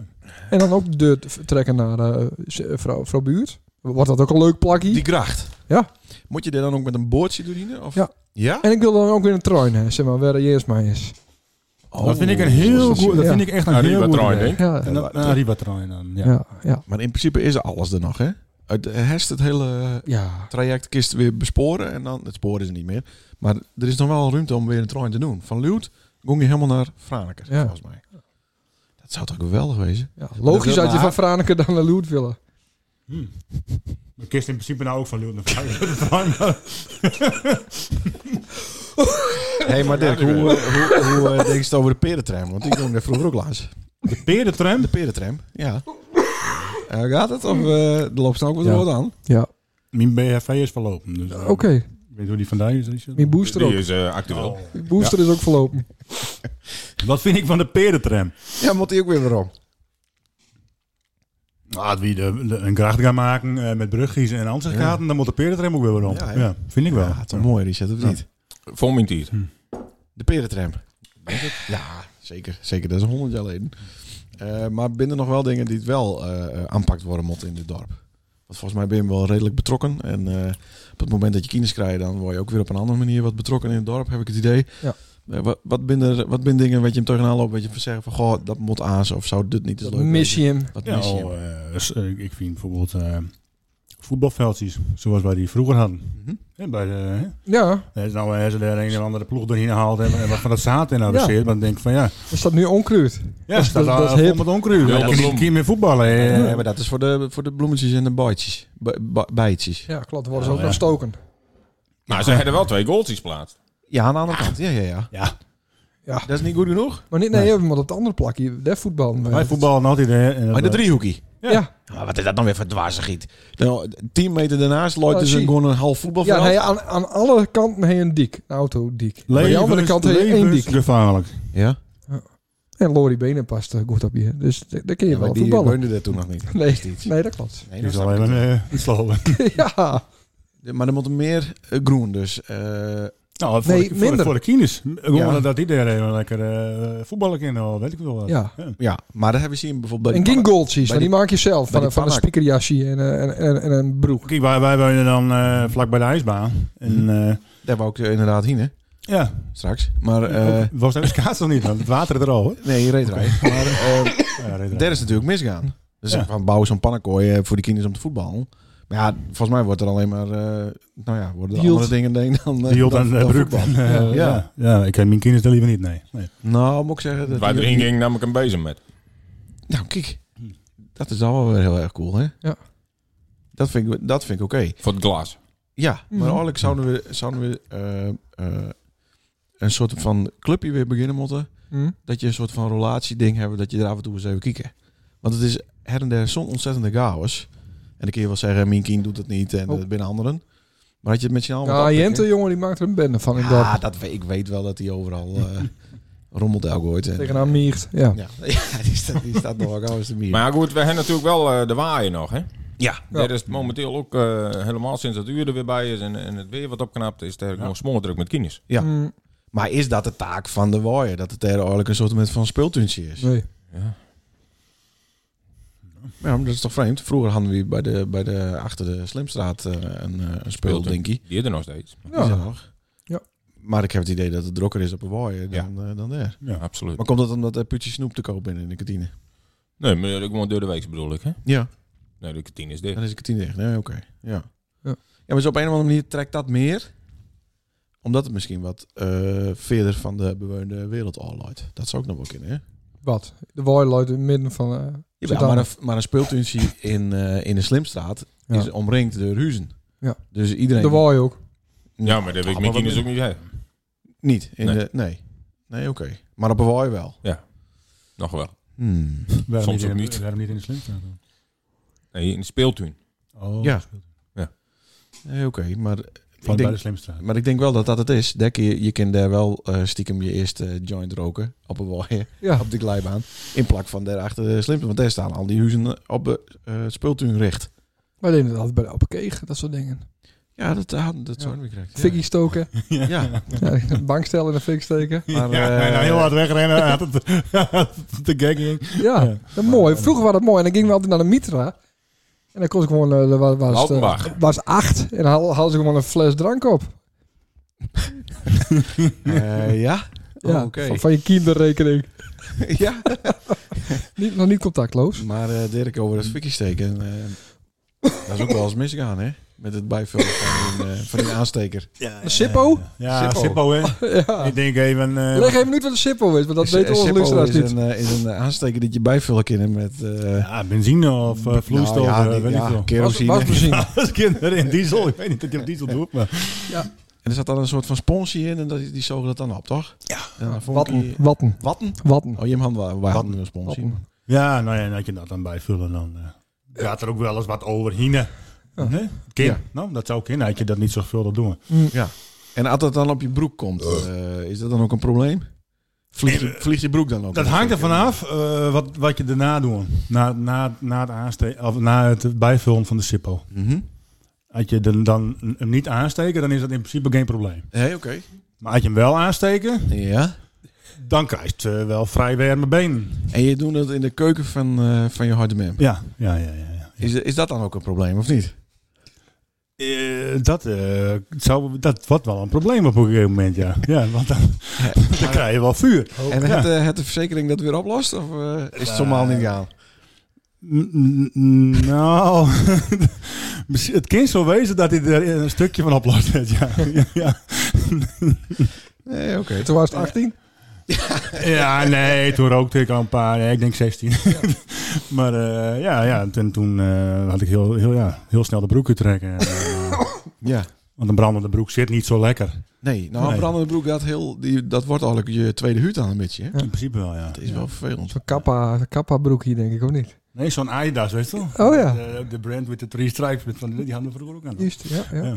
En dan ook de t- trekken naar eh, z- vrouw, vrouw Buurt. Wordt dat ook een leuk plakje? Die gracht. Ja. Moet je dit dan ook met een boordje doen hier? Of? Ja. Ja? En ik wil dan ook weer een trein, hè, zeg maar, waar je eerst mee is. Oh. dat vind ik Oh, een heel goed, dat Ja. vind ik echt een Arriba heel goed Troy, idee. denk Ja, En ja, dat- een Arriba Troy dan, ja. ja. ja. Maar in principe is er alles er nog, hè? Het herst het hele traject kist weer besporen en dan... Het spoor is er niet meer. Maar er is nog wel ruimte om weer een trein te doen. Van Luut ging je helemaal naar Franeker, Ja. volgens mij. Dat zou toch geweldig wezen? Ja, Logisch Dat- dat je maar- van Franeker dan naar Loert willen. De kist in principe nou ook van Leeuwen. Daar Hé, hey, maar Dirk, hoe, eh, hoe, hoe eh, denk je het over de perentram? Want ik ging er vroeger ook langs. Perentram. De perentram, ja. Eh, gaat het? Of eh, er loopt snel ook wat Ja. rood aan? Ja, Mijn BHV is verlopen. Dus, eh, oké. Ik weet hoe die vandaan is. Richard. Mijn booster die ook. is eh, actueel. Mijn booster is ook verlopen. Wat vind ik van de perentram? Ja, moet hij ook weer weer om. Nou, als wie de, de- een gracht gaan maken eh, met bruggies en ansichtkaarten, dan moet de perentram ook weer weer om. Ja, Ja, hè? vind ik wel. Ja, het is mooi, Richard, of niet? Voor mijn tijd. De perentram. Ja, zeker. Zeker, dat is een honderd jaar geleden. Eh, maar binnen nog wel dingen die het wel eh, eh, aanpakt worden moeten in dit dorp. Want volgens mij ben je wel redelijk betrokken. En eh, op het moment dat je kinderen krijgt, dan word je ook weer op een andere manier wat betrokken in het dorp, heb ik het idee. Ja. Eh, wat, wat, ben er, wat ben dingen wat je hem tegenaan loopt, wat je van zeggen van, goh, dat moet aas of zou dit niet eens leuk Miss je hem. wezen? Dat Ja, oh, mis eh. je al, hem. eh, s- eh, ik vind bijvoorbeeld eh, voetbalveldjes, zoals wij die vroeger hadden. Mhm. Hè, bij de, hè? Ja, Er is nou als ze er een of andere ploeg doorheen gehaald hebben en wat van dat zaad in hadden Ja. zit, dan denk ik van ja, er staat nu onkruid. ja dat, dat- staat al dat is vol hip. met onkruid. Ja, Ja, dat kun je blom. niet meer voetballen. hè. Ja, maar dat is voor de, voor de bloemetjes en de bijtjes. Bij- bij- bijtjes. Ja, klopt. Dan worden ze Ja, ook nog ja. stoken. Maar ze hadden wel twee goals geplaatst. Ja, aan de andere kant. Ja, ja, ja. Ja. Ja. Dat is niet goed genoeg. Maar niet, nee, we hebben hem op de andere plak hier. De voetbal. Wij voetballen altijd. hè, en dat- Maar Oh, de driehoekje. Ja, Ja. eh, Ja, Maar wat is dat dan weer voor dwazigiet? Nou, tien meter daarnaast looit Oh, dus een, zie. gewoon een half voetbalveld. ja nee, aan, aan alle kanten heen een dik. Een autodiek. Aan de andere Levens- kant heen één dik. levensgevaarlijk. ja? En Lori Benen past eh, goed op je. Dus d- daar kun je Ja, maar wel die voetballen. woonde er toen nog niet. Nee, Is iets. nee, dat klopt. Nee, Die dat zal snap ik even eh, iets lopen. ja. niet. Maar er moet meer eh, groen dus. eh, Nou, voor, Nee, de, voor, minder. voor de kines. Gewoon Ja. dat iedereen wel lekker eh voetballen kan, al weet ik wel wat. Ja. ja, maar daar hebben we zien bijvoorbeeld bij En die geen goaltjes, bij want die maak je zelf. Van, die een- van een pannen- speakerjasje en, eh, en, en, en een broek. Kijk, wij, wij wonen dan eh, vlak bij de ijsbaan. En Mhm. eh pannen- Daar wou ik eh, inderdaad heen, hè, ja, straks. Maar, eh, ook- was dat een schaats of niet? Want het water er al. hoor. nee, je reed eruit. Maar eh, Ja, reed er daar is natuurlijk misgaan. Dus Ja. van bouw zo'n pannenkooi eh, voor die kinderen om te voetballen. Maar ja, volgens mij wordt er alleen maar, eh, nou ja, worden er Hield. andere dingen denk ik dan, eh, Die hield dan- aan de dan broek. voetbal. Eh, Ja. ja. ja, ik ken mijn kinderen er liever niet, nee. nee. Nou, moet ik zeggen. Dat Waar die- erin ging, nam ik een bezem met. Nou, kijk. Dat is dan wel weer heel erg cool, hè? Ja. Dat vind ik, dat vind ik oké. Voor het glas. Ja, maar Mhm. eigenlijk zouden we, zouden we eh, eh, een soort van clubje weer beginnen moeten. Hm? Dat je een soort van relatieding hebt, dat je er af en toe eens even kijken. Want het is her en der zo'n ontzettende chaos. En dan kun je wel zeggen, mijn kind doet het niet en Oh. dat binnen anderen. Maar had je het met z'n allen... Ja, Ah, Jente, jongen, die maakt er een bende van. in Ja, dat Ah, dat, we- ik weet wel dat hij overal eh rommelt elke ooit. En, tegen haar miegt. Ja. ja, ja, die staat, die staat nog wel eens te mieren. Maar ja, goed, we hebben natuurlijk wel eh, de waaien nog, hè? Ja. Daar is het momenteel ook eh, helemaal sinds dat uur er weer bij is en, en het weer wat opknapt, is het eigenlijk nog smoor druk met kines. Ja. Hm, Maar is dat de taak van de waaier? Dat het er eigenlijk een soort van speeltuntje is? nee. Ja, maar dat is toch vreemd? Vroeger hadden we bij de, bij de, achter de Slimstraat eh, een, eh, een speeldinkie. Die is er nog steeds. Ja. Ja. nog. Ja. Maar ik heb het idee dat het drokker is op een waaier dan, eh, dan daar. Absoluut. Maar komt dat omdat er putje snoep te koop in in de kantine? Nee, maar ik gewoon door de week bedoel ik, hè? Ja. Nee, de kantine is dicht. Dan is de kantine dicht. Nee, oké. Ja. Ja. ja. maar zo op een of andere manier trekt dat meer. Omdat het misschien wat eh, verder van de bewoonde wereld al leidt. Dat zou ook nog wel kunnen, hè? Wat? De waaier loopt in het midden van... eh, Ja, Zodanig. maar, een, maar een speeltuintje in, eh, in de Slimstraat Ja. is omringd door huizen. Ja. Dus iedereen... de waaier ook. Ja, maar dat weet ik mijn kines ook niet. hè. Niet. In Nee. De, nee. Nee, oké. Maar op Hawaii wel. Nog wel. Hmm. Waarom Soms in- ook niet. Waarom niet in de slimstraat? dan? Nee, in de speeltuin. Oh, Ja. van Nee, oké. maar, bij ik denk, de slimstraat. maar ik denk wel dat dat het is. Dek, je, je kan daar wel eh, stiekem je eerste joint roken op Hawaii. Ja. Op de glijbaan. In plak van daarachter de Slimstraat. Want daar staan al die huizen op de eh speeltuin recht. Maar deden dat altijd bij de open keeg, dat soort dingen. Ja, dat, hadden dat Ja. zouden we krijgen. Fikkie stoken. Ja. ja. Ja, een bankstel in de fik steken. Maar, ja, eh, hij nou heel hard wegrennen. hij had het, de gag ging. Ja, Ja. dat mooi. Vroeger was dat mooi. En dan gingen we altijd naar de Mitra. En dan kon ik gewoon... eh, was, was, Lautenbach. was acht. En dan haal- haalden ze gewoon een fles drank op. eh, ja? Ja, Oh, oké. van, van je kinderrekening. ja. Niet, nog niet contactloos. Maar eh, Dirk, over Mm. het fikkie steken. eh, dat is ook wel eens misgaan, hè? Met het bijvullen van een, eh, van een aansteker. Een Sippo? Ja, Sippo. Sippo, hè. Ja. Ik denk even... eh, Leg even niet wat een Sippo is, want dat Is- weten is onze Zippo luisteraars is niet. Een, eh, is een aansteker dat je bijvullen kan met... eh ja, benzine of eh, vloeistof, nou ja, eh, die- weet ja, ik veel. Was, kerosine. was misschien. Als kinderen in diesel. Ik weet niet dat je op diesel doet, maar... En er zat dan een soort van sponsje in en dat, die zogen dat dan op, toch? Ja. Watten. Watten. Watten? Watten. Oh, je had wel wij hadden een sponsje. Watten. Ja, nou ja, en dat je dat dan bijvullen, dan eh, gaat er ook wel eens wat over hine. Hè? Kim, Ja. nou, dat zou kunnen. Had je dat niet zorgvuldig doen. Ja. En als dat dan op je broek komt, eh, is dat dan ook een probleem? Vliegt je, vliegt je broek dan ook? Dat hangt er vanaf eh, wat, wat je daarna doet. Na, na, na, het aanste- of na het bijvullen van de Sippo. Mhm. Als je dan, dan hem niet aansteken, dan is dat in principe geen probleem. Hé, oké. Maar als je hem wel aansteken, Ja. dan krijg je het, eh, wel vrij warme benen. En je doet dat in de keuken van, eh, van je harde man. Ja, ja, ja. ja, ja. Is, is dat dan ook een probleem, of niet? Eh, dat, eh, zou, dat wordt wel een probleem op een gegeven moment, ja. ja want dan, dan krijg je wel vuur. en ja. eh, het, eh, het de verzekering dat weer oplost? Of eh, is het zomaar niet gaan? N- n- n- Nou, misschien- het kan zo wezen dat hij er een stukje van oplost. net, Ja, ja, ja. Nee, oké. Toen was het 18. ja, nee, toen rookte ik al een paar, nee, ik denk 16. maar eh, ja, ja, en toen eh, had ik heel, heel, ja, heel snel de broek trekken. Ja. Want een brandende broek zit niet zo lekker. Nee, nou, Nee. een brandende broek, dat, heel, die, dat wordt eigenlijk je tweede huurt aan een beetje. Hè? In principe wel, ja. Dat is wel vervelend. Zo'n kappa, kappa broek hier, denk ik, of niet? Nee, zo'n Adidas, weet je wel? Oh ja. De, eh, de brand with the three stripes, met van, die hadden we vroeger ook aan. Juist, ja, ja. Ja.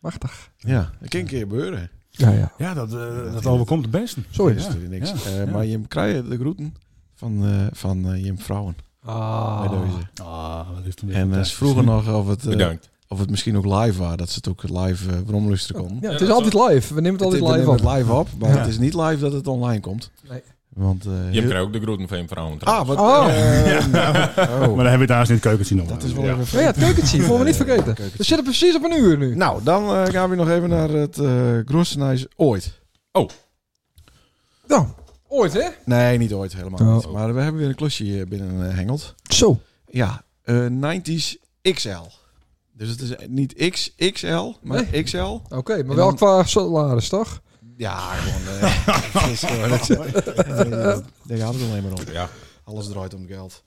Machtig. Ja, dat kan een keer gebeuren. Ja, ja. Ja, dat, eh, dat overkomt het beste. Zo is Dus Ja, er is niks. ja, Eh, ja. Maar je krijgt de groeten van, eh van eh, je vrouwen bij Ah. deze. Ah, dat is toch weer En eh, ze fantastisch. vroegen nog of het, eh, Bedankt. of het misschien ook live was. Dat ze het ook live eh bromlusteren kon. Ja, het dat is is altijd live. We nemen het altijd we live nemen op. het live op, maar Ja. het is niet live dat het online komt. Nee. Want, eh, Je krijgt ook de groeten van je vrouw. ah, wat... Oh. eh, oh. Maar dan hebben we het daar in het keukentje nog. Dat is wel Ja. even... Oh Ja, het keukentje. Voor me niet vergeten. Keukentje. We zitten precies op een uur nu. Nou, dan eh, gaan we nog even naar het eh Groesenhuis ooit. Nou, ooit hè? Nee, niet ooit helemaal Oh. niet. Maar we hebben weer een klusje hier binnen eh, hengeld. Zo. Ja, eh 90s XL. Dus het is niet XXL, maar XL. Oké, maar En wel dan- qua salaris, toch? Ja, gewoon... eh, het is gewoon het, eh, daar gaat het alleen maar om. Ja. Alles draait om geld.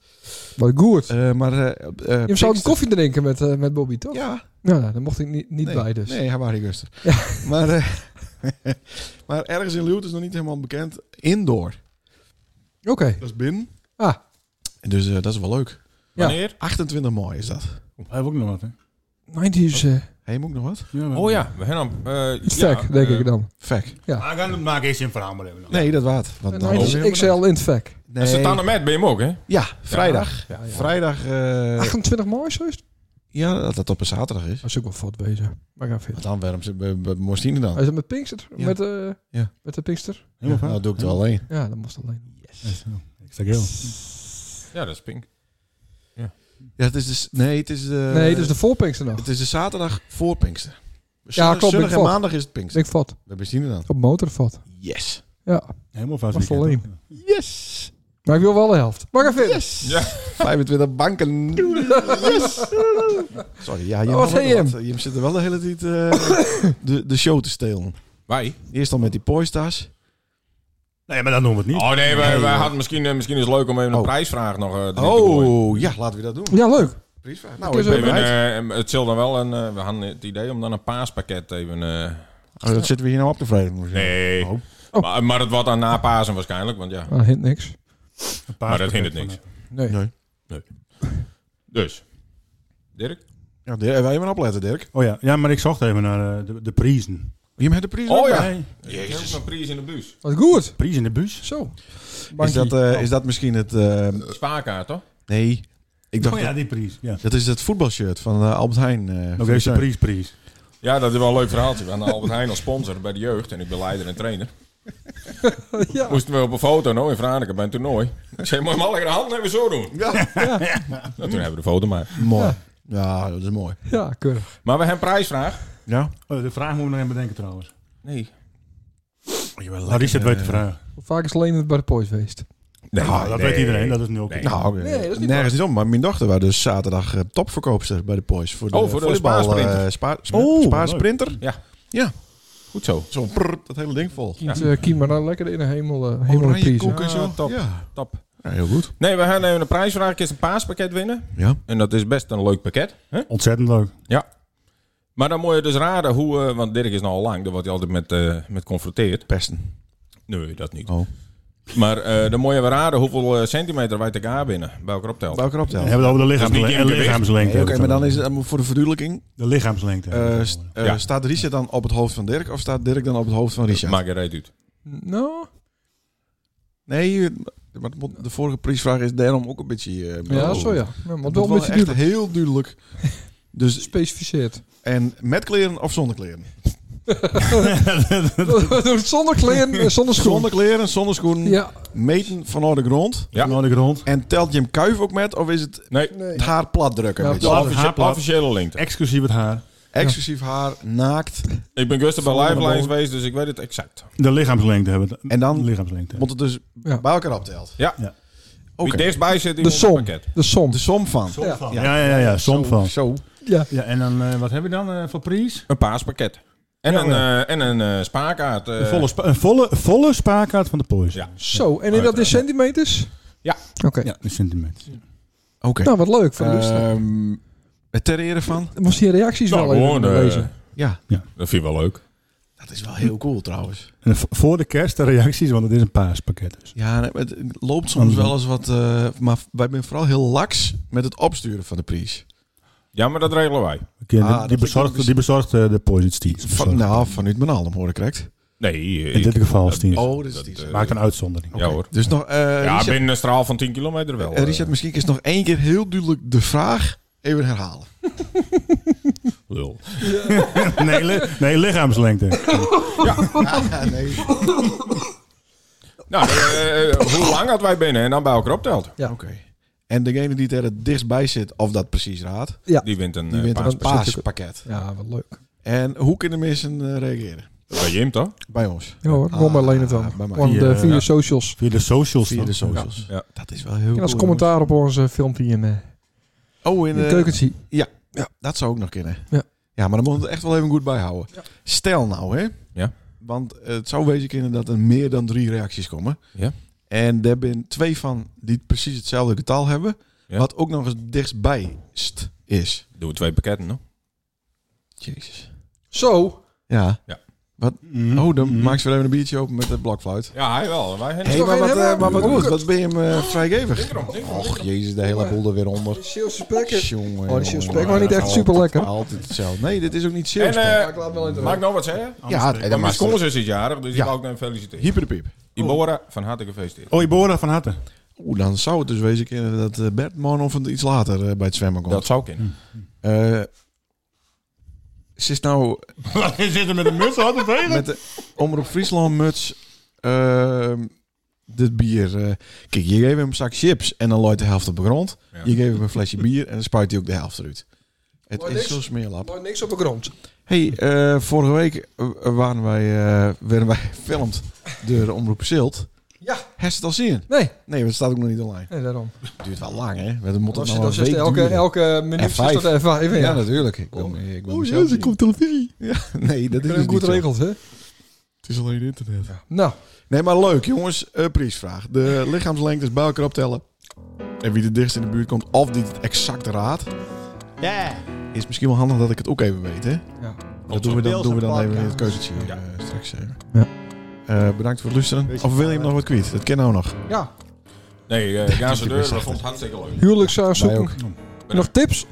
Wat goed. Eh, maar... eh, eh, je zou ook Pinkster- een koffie drinken met, eh, met Bobby, toch? Ja, Nou, daar mocht ik niet, niet nee, bij dus. Nee, hij was niet rustig. Maar, eh, maar ergens in Leeuwarden is nog niet helemaal bekend. Indoor. Oké. Dat is binnen. Ah. Dus eh, dat is wel leuk. Ja. Wanneer? 28 mooi is dat. Hij heeft ook nog wat, hè? Mijn die is eh, Hij moet nog wat? Ja, we- Oh ja, we hebben hem. eh, sterk, ja, denk eh, ik dan. Vek. Maar dan maak ik eens een verhaal maar even. nog. Nee, dat waard. Want En dan mijn is die het is XL in het vak. helemaal- En Nee. Santana Met ben je hem ook, hè? Ja, vrijdag. Ja, ja. Vrijdag. eh, 28 mooi zo is het? ja, dat dat op een zaterdag is. Dat is ook wel fout bezig. Maar ga verder. Want dan waarom ze bij- bij Morstine dan? Hij is het met Pinkster? Ja. Met, eh, Ja. met de Pinkster? Ja, Helemaal nou, fout. doe ik het wel alleen. Ja, dat moest alleen. Ik zeg heel. Ja, dat is pink. Ja, het is dus, nee, het is de. nee, dat is de voor Pinkster nog. Het is de zaterdag voor Pinkster. klopt, ben ik Zondag en fout. maandag is het Pinkster. Dus Ik vat. Bij Morstine dan. Op motorvat. Yes. Ja. Helemaal fout. Was weekend, alleen. toch? Yes. Maar ik wil wel de helft. Maar ga verder. Ja. 25 banken. Yes. Sorry, ja, je, Oh, mag wat ook zei nog je? wat. je zit er wel de hele tijd eh, de, de show te stelen. Wij? Eerst al met die poistas. Nee, maar dat noemen we het niet. Oh nee, wij, Nee, wij joh. hadden misschien, eh, misschien is het leuk om even een Oh. prijsvraag nog eh, erin te gooien. Oh, ja, laten we dat doen. Ja, leuk. Prijsvraag. Dat Nou, is ik ben ook- Even, bereid. eh, het zal dan wel een. eh, we hadden het idee om dan een paaspakket even. eh, Oh, dat zitten we hier nou op te vreden. nee. Oh. Oh. Maar, maar het wordt dan na Pasen waarschijnlijk, want ja. Ah, hint niks. Een Maar dat hindert niks. Nee. Nee. Dus. Dirk? Ja, Dirk, wij hebben opletten, Dirk. Oh ja. ja, maar ik zocht even naar eh, de, de prijzen. Je hebt de prijs Oh ook ja. bij. Nee. Jezus. een prijs in de bus. Wat goed. Prijs in de bus? Zo. Is dat, eh, is dat misschien het... eh, Spaarkaart, toch? nee, ik dacht... Oh ja, dat, die prijs. Ja. dat is het voetbalshirt van eh, Albert Heijn. eh, van Nog even zijn. de prijs, prijs. Ja, dat is wel een leuk verhaaltje. We hadden Albert Heijn als sponsor bij de jeugd en ik ben leider en trainer. Ja. Moesten we op een foto nou in Vraneker bij een toernooi. Ik zei, moet je hem al lekker de hand even zo doen. Ja. Nou, toen hebben we de foto maar. Mooi. Ja, dat is mooi. Ja, keurig. Maar we hebben een prijsvraag. Ja? Oh, de vraag moet ik nog even bedenken trouwens. Nee. Oh, Maar Nou, Richard weet eh, de vraag. Hoe vaak is alleen het bij de Poys geweest? Nee, Ah, dat nee. weet iedereen, dat is nu ook. Nee. Nou, oké. Nee, dat is niet nergens niet om. Maar mijn dochter was dus zaterdag eh, topverkoopster bij de Poys. Voor de, Oh, voor de voetbal, spaarsprinter. eh, spa- spa- Oh, spaarsprinter. Goed zo. Zo'n prrr, dat hele ding vol. Kind, eh, Kiem, maar dan lekker in een hemel, eh, hemel Oranje prijs, hè. koek en zo. Ja, top. Ja. Top. Ja, heel goed. Nee, we gaan even een prijsvraag. Ik eens een paaspakket winnen. Ja. En dat is best een leuk pakket. Hè? Ontzettend leuk. Maar dan moet je dus raden hoe... eh, want Dirk is nou al lang, daar wordt hij altijd met, eh met confronteerd. Pesten. Nee, dat niet. Oh. Maar eh, dan moet je wel raden hoeveel eh, centimeter wij elkaar binnen. Bij elkaar optelt. Welke We optellen? hebben het over de Dat is niet lichaamsle- in eh, gewicht. lichaamslengte. Oké, maar dan is het het eh, voor de verduidelijking. De lichaamslengte. eh, hebben we st- het over. eh, Ja. Staat Richard dan op het hoofd van Dirk of staat Dirk dan op het hoofd van Richard? Maak je reet uit. Nou, Nee, eh, maar het moet- de vorige prijsvraag is daarom ook een beetje... eh, ja, bedoeld. zo ja. Maar Het moet wel moet een wel beetje echt duidelijk. heel duidelijk. Dus, Specificeerd. en met kleren of zonder kleren? zonder kleren, eh, zonder schoen. Zonder kleren, zonder schoenen. Ja. Meten van de grond. Ja. Nou, de grond. En telt je hem kuif ook met? Of is het Nee. Nee. het haar plat drukken? Ja, weet je? De plat. officie- haarplaat. officiële lengte. Exclusief het haar. Exclusief haar, naakt. Ik ben gisteren bij Zonder Lifelines boven. geweest, dus ik weet het exact. De lichaamslengte hebben we het. En dan lichaamslengte. Moet het dus Ja. bij elkaar optelt. Ja. Ja. Wie dichtbij zit, die De moet een som. pakket. De som. De som van. Ja. Ja, ja, ja, ja som van. Zo. Ja. Ja, en dan, eh, wat heb je dan eh, voor prijs? Een paaspakket. En Ja, een, ja. eh, en een eh, spaarkaart. eh, Een volle, spa- een volle, volle spaarkaart van de Poison. Ja. Zo, en in dat in centimeters? Ja. Oké. Ja, een centimeter. Oké. Nou, wat leuk voor de luisteraar. Ehm, het ter ere van? Dan moest je reacties nou, wel even gewoon, eh, lezen. Ja. dat vind ik wel leuk. Dat is wel heel cool trouwens. En vo- voor de kerst de reacties, want het is een paaspakket dus. Ja, nee, het loopt soms wel eens wat... eh, maar wij zijn vooral heel laks met het opsturen van de prijs. Ja, maar dat regelen wij. Een keer- Ah, dat die, vind ik bezorgt, dus- die bezorgt eh, de Poison Steens. Van, nou, vanuit mijn alm hoor ik correct. Nee. In dit geval Steens. Oh, dat is die. eh, Maakt een uitzondering. Ja hoor. Dus nog... eh, Ja, Richard, binnen een straal van 10 kilometer wel. eh, Richard, misschien is nog één keer heel duidelijk de vraag even herhalen. eh, Lul. nee, li- nee, lichaamslengte. Ja, nee. Oké. Nou, eh, eh, hoe lang had wij binnen en dan bij elkaar optelt? En degene die er het dichtstbij zit, of dat precies raadt, Die wint een eh, die wint een paaspakket. paaspakket. Ja, wat leuk. En hoe kunnen mensen eh, reageren? Bij Jim toch? Bij ons. Ja hoor, kom maar alleen het dan. Ah, bij mij. Want, Ja, eh, via ja. de socials. Via de socials. Via dan. de socials. Ja. Dat is wel heel En als cool, commentaar op onze filmpje in, eh, jongens. Oh, in in de de keuken zie. Ja, dat zou ook nog kunnen. Ja. ja, maar dan moet het echt wel even goed bijhouden. Stel nou, hè. Ja. Want het zou wezen kunnen dat er meer dan drie reacties komen. Ja. En daar zijn twee van die precies hetzelfde getal hebben. Ja. Wat ook nog eens dichtstbij st is. Doen we twee pakketten, hoor. Jezus. Zo. Ja. Mm. Oh, dan Mm. maak ze weer even een biertje open met de blokfluit. Ja, hij wel. Wij hebben Hé, toch maar, geen wat, helemaal- eh, maar wat, Oh, wat, kut. ben je hem eh, vrijgevig? erom, drink erom, Och, jezus, de hele boel er weer onder. Zeeuwse spekken. Jongen, Oh, die jongen, spekken jongen. waren niet echt super lekker. Altijd hetzelfde. Nee, dit is ook niet En serieus. eh, ik laat wel in de mag ik nog wat zeggen? ja, en Want dan mijn maakt het schoonzus is jarig, dus Ja. ik wou ook hem feliciteren. hyperpiep. Ibora, van harte gefeliciteerd. Oh, Ibora van harte. Oeh, dan zou het dus wezen kunnen dat eh, Bert morgen of iets later eh, bij het zwemmen komt. Dat zou kunnen. Eh, ze is nou Wat is dit er met een muts aan het hele? met de Omroep Friesland muts ehm, dit bier. eh, kijk, je geeft hem een zak chips en dan looit de helft op de grond. Ja. Je geeft hem een flesje bier en dan spuit hij ook de helft eruit. Het Maar is niks. zo smeerlap. niks op de grond. Hey, eh, vorige week eh, waren wij, eh, werden wij gefilmd door Omroep Zilt. Ja. Heb je het al zien? Nee, Nee, want het staat ook nog niet online. nee daarom. Het duurt wel lang, hè? We moeten Dan het zit- nou dan een zit week elke, Oh. duren. elke minuut F5. zit er F5 Ja, in. Ja. natuurlijk. Ik ben, ik ben mezelf niet. televisie. Nee, dat is dus Goed niet zo. geregeld, hè? Het is alleen internet. Nou, Nee, maar leuk, jongens. Eh priesvraag. De lichaamslengtes bij elkaar optellen. En wie de dichtst in de buurt komt, of die het exact raadt. Is misschien wel handig dat ik het ook even weet, hè? ja. Dat doen we dan, doen we dan even in het keuzetje Ja. straks even. Ja. Eh, bedankt voor het luisteren. Of wil je hem nog wat kwijt? Dat ken nou nog. ja. Nee, eh gaan ze is deur. best Dat vond het hartstikke leuk. huwelijkszaak Wij zoeken. ook. Nog tips?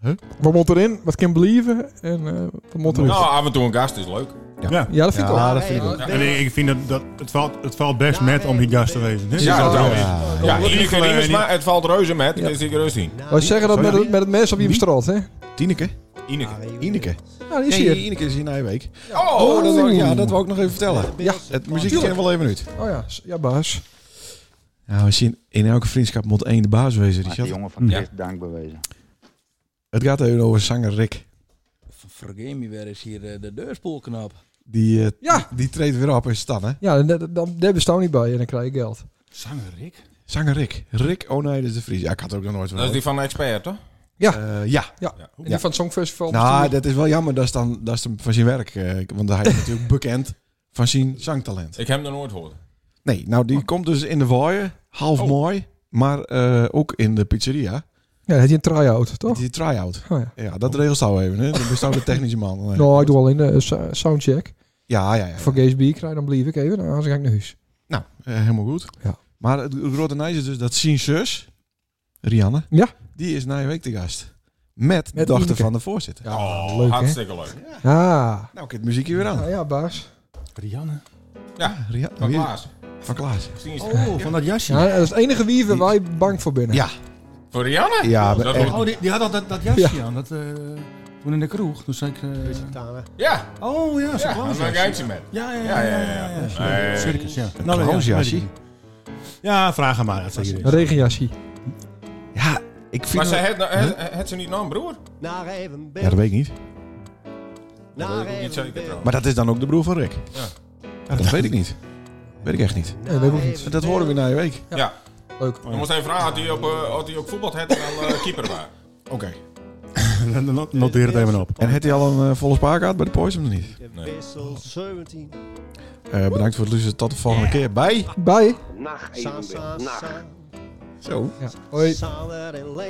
Huh? Wat moet erin? Wat kan believen? En eh, wat moet erin? Nou, af en toe een gast is leuk. Ja. Ja, dat vind ik ook. Ja, dat vind ik ook. En ik, ik vind dat, dat het, valt, het valt best met om die gast te wezen. hè? Ja, dat wel. Ja, ja. Ja, iedereen Liefde, is eh, maar het valt reuze met. Ja. Dus ik rust in. Wij zeggen dat met, het- met het mes op je bestraat, hè? Tineke? Ineke. Ineke. Nou, die is Nee, hier. Ineke is hier na je week. Oh, dat wou, ja, dat wou ik nog even vertellen. Ja. Het muziekje kennen we wel even uit. Oh ja, s- ja baas. Nou, we zien, in elke vriendschap moet één de baas wezen, Maar de Richard. jongen van Ja. Chris dank bewezen. Het gaat even over zanger Rick. Vergeet me weer is hier eh, de deurspoelknap. Die, eh, Ja. die treedt weer op in Stan, hè? Ja, dan, dan, dan, daar bestaan niet bij en dan krijg je geld. Zanger Rick? Zanger Rick. Rick Onijdes de Vries. Ja, ik had er ook nog nooit van Dat is die gehoord. van de expert, toch? Eh, ja. En die van het Songfestival. Nou, bestuurt- dat is wel jammer. Dat is dan dat is hem van zijn werk. eh, want hij is natuurlijk bekend van zijn zangtalent. Ik heb hem er nooit gehoord. Nee, nou, Oh. die komt dus in de waaien. Half Oh. mooi. Maar eh, ook in de pizzeria. Ja, had je een try-out, toch? Die try-out. Oh, ja. Ja, dat regelt zou even. Hè. Dan bist de technische man. Eh, Nou, ik doe alleen de soundcheck. Ja, ja, ja. ja. Voor Gaze B krijg dan blijf ik even. Nou, anders ga ik naar huis. Nou, eh, helemaal goed. Ja. Maar het grote nice is dus dat zijn zus, Rianne, Ja. die is na je week te gast. Met, de Met dochter Ineke. van de voorzitter. Oh, leuk, hè? hartstikke leuk. Ah. Nou, ik heb het muziekje weer aan. Ah, ja, baas. Rianne. Ja, Rianne, van wie- Klaas. Van Klaas. Zien ze. Oh, van dat jasje. Ja, dat is het enige wie waar wij bang voor binnen. Ja. Voor Rianne? Ja, Dat maar wordt- echt. Oh, die, die had al dat, dat jasje aan. Dat, eh, toen in de kroeg. Toen zei ik... eh, Ja, oh ja, zo'n ja. clownsjasje. Dan kijkt ze met. Ja, ja, Ja, ja, ja, ja. Nee. Circus, ja. Nou, ja, clownsjasje. weet ik Ja, vraag hem maar. Dat zeg je Een dit. regenjasje. Ja, ik vind Maar ze dat... had, had, had ze niet nog een broer? Ja, dat weet ik niet. Dat weet ik ook niet zeker trouwens. Maar dat is dan ook de broer van Rick. Ja. Ja, dat weet ik niet. Weet ik echt niet. Nee, dat hoef ik niet. Dat horen we na je week. Ja. Leuk. Dan moest hij vragen, had hij ook, eh, had hij ook voetbal had en dan eh, keeper was. Oké. Noteer het even op. En heeft hij al een eh, volle spaarkaart bij de Poys of nog niet? Nee. Wissel 17. Eh, bedankt voor het luisteren. Tot de volgende keer. Bye. Bye. Nacht Sa, even. sa, Nacht. sa. Zo. Ja. Hoi. Saler en Leen.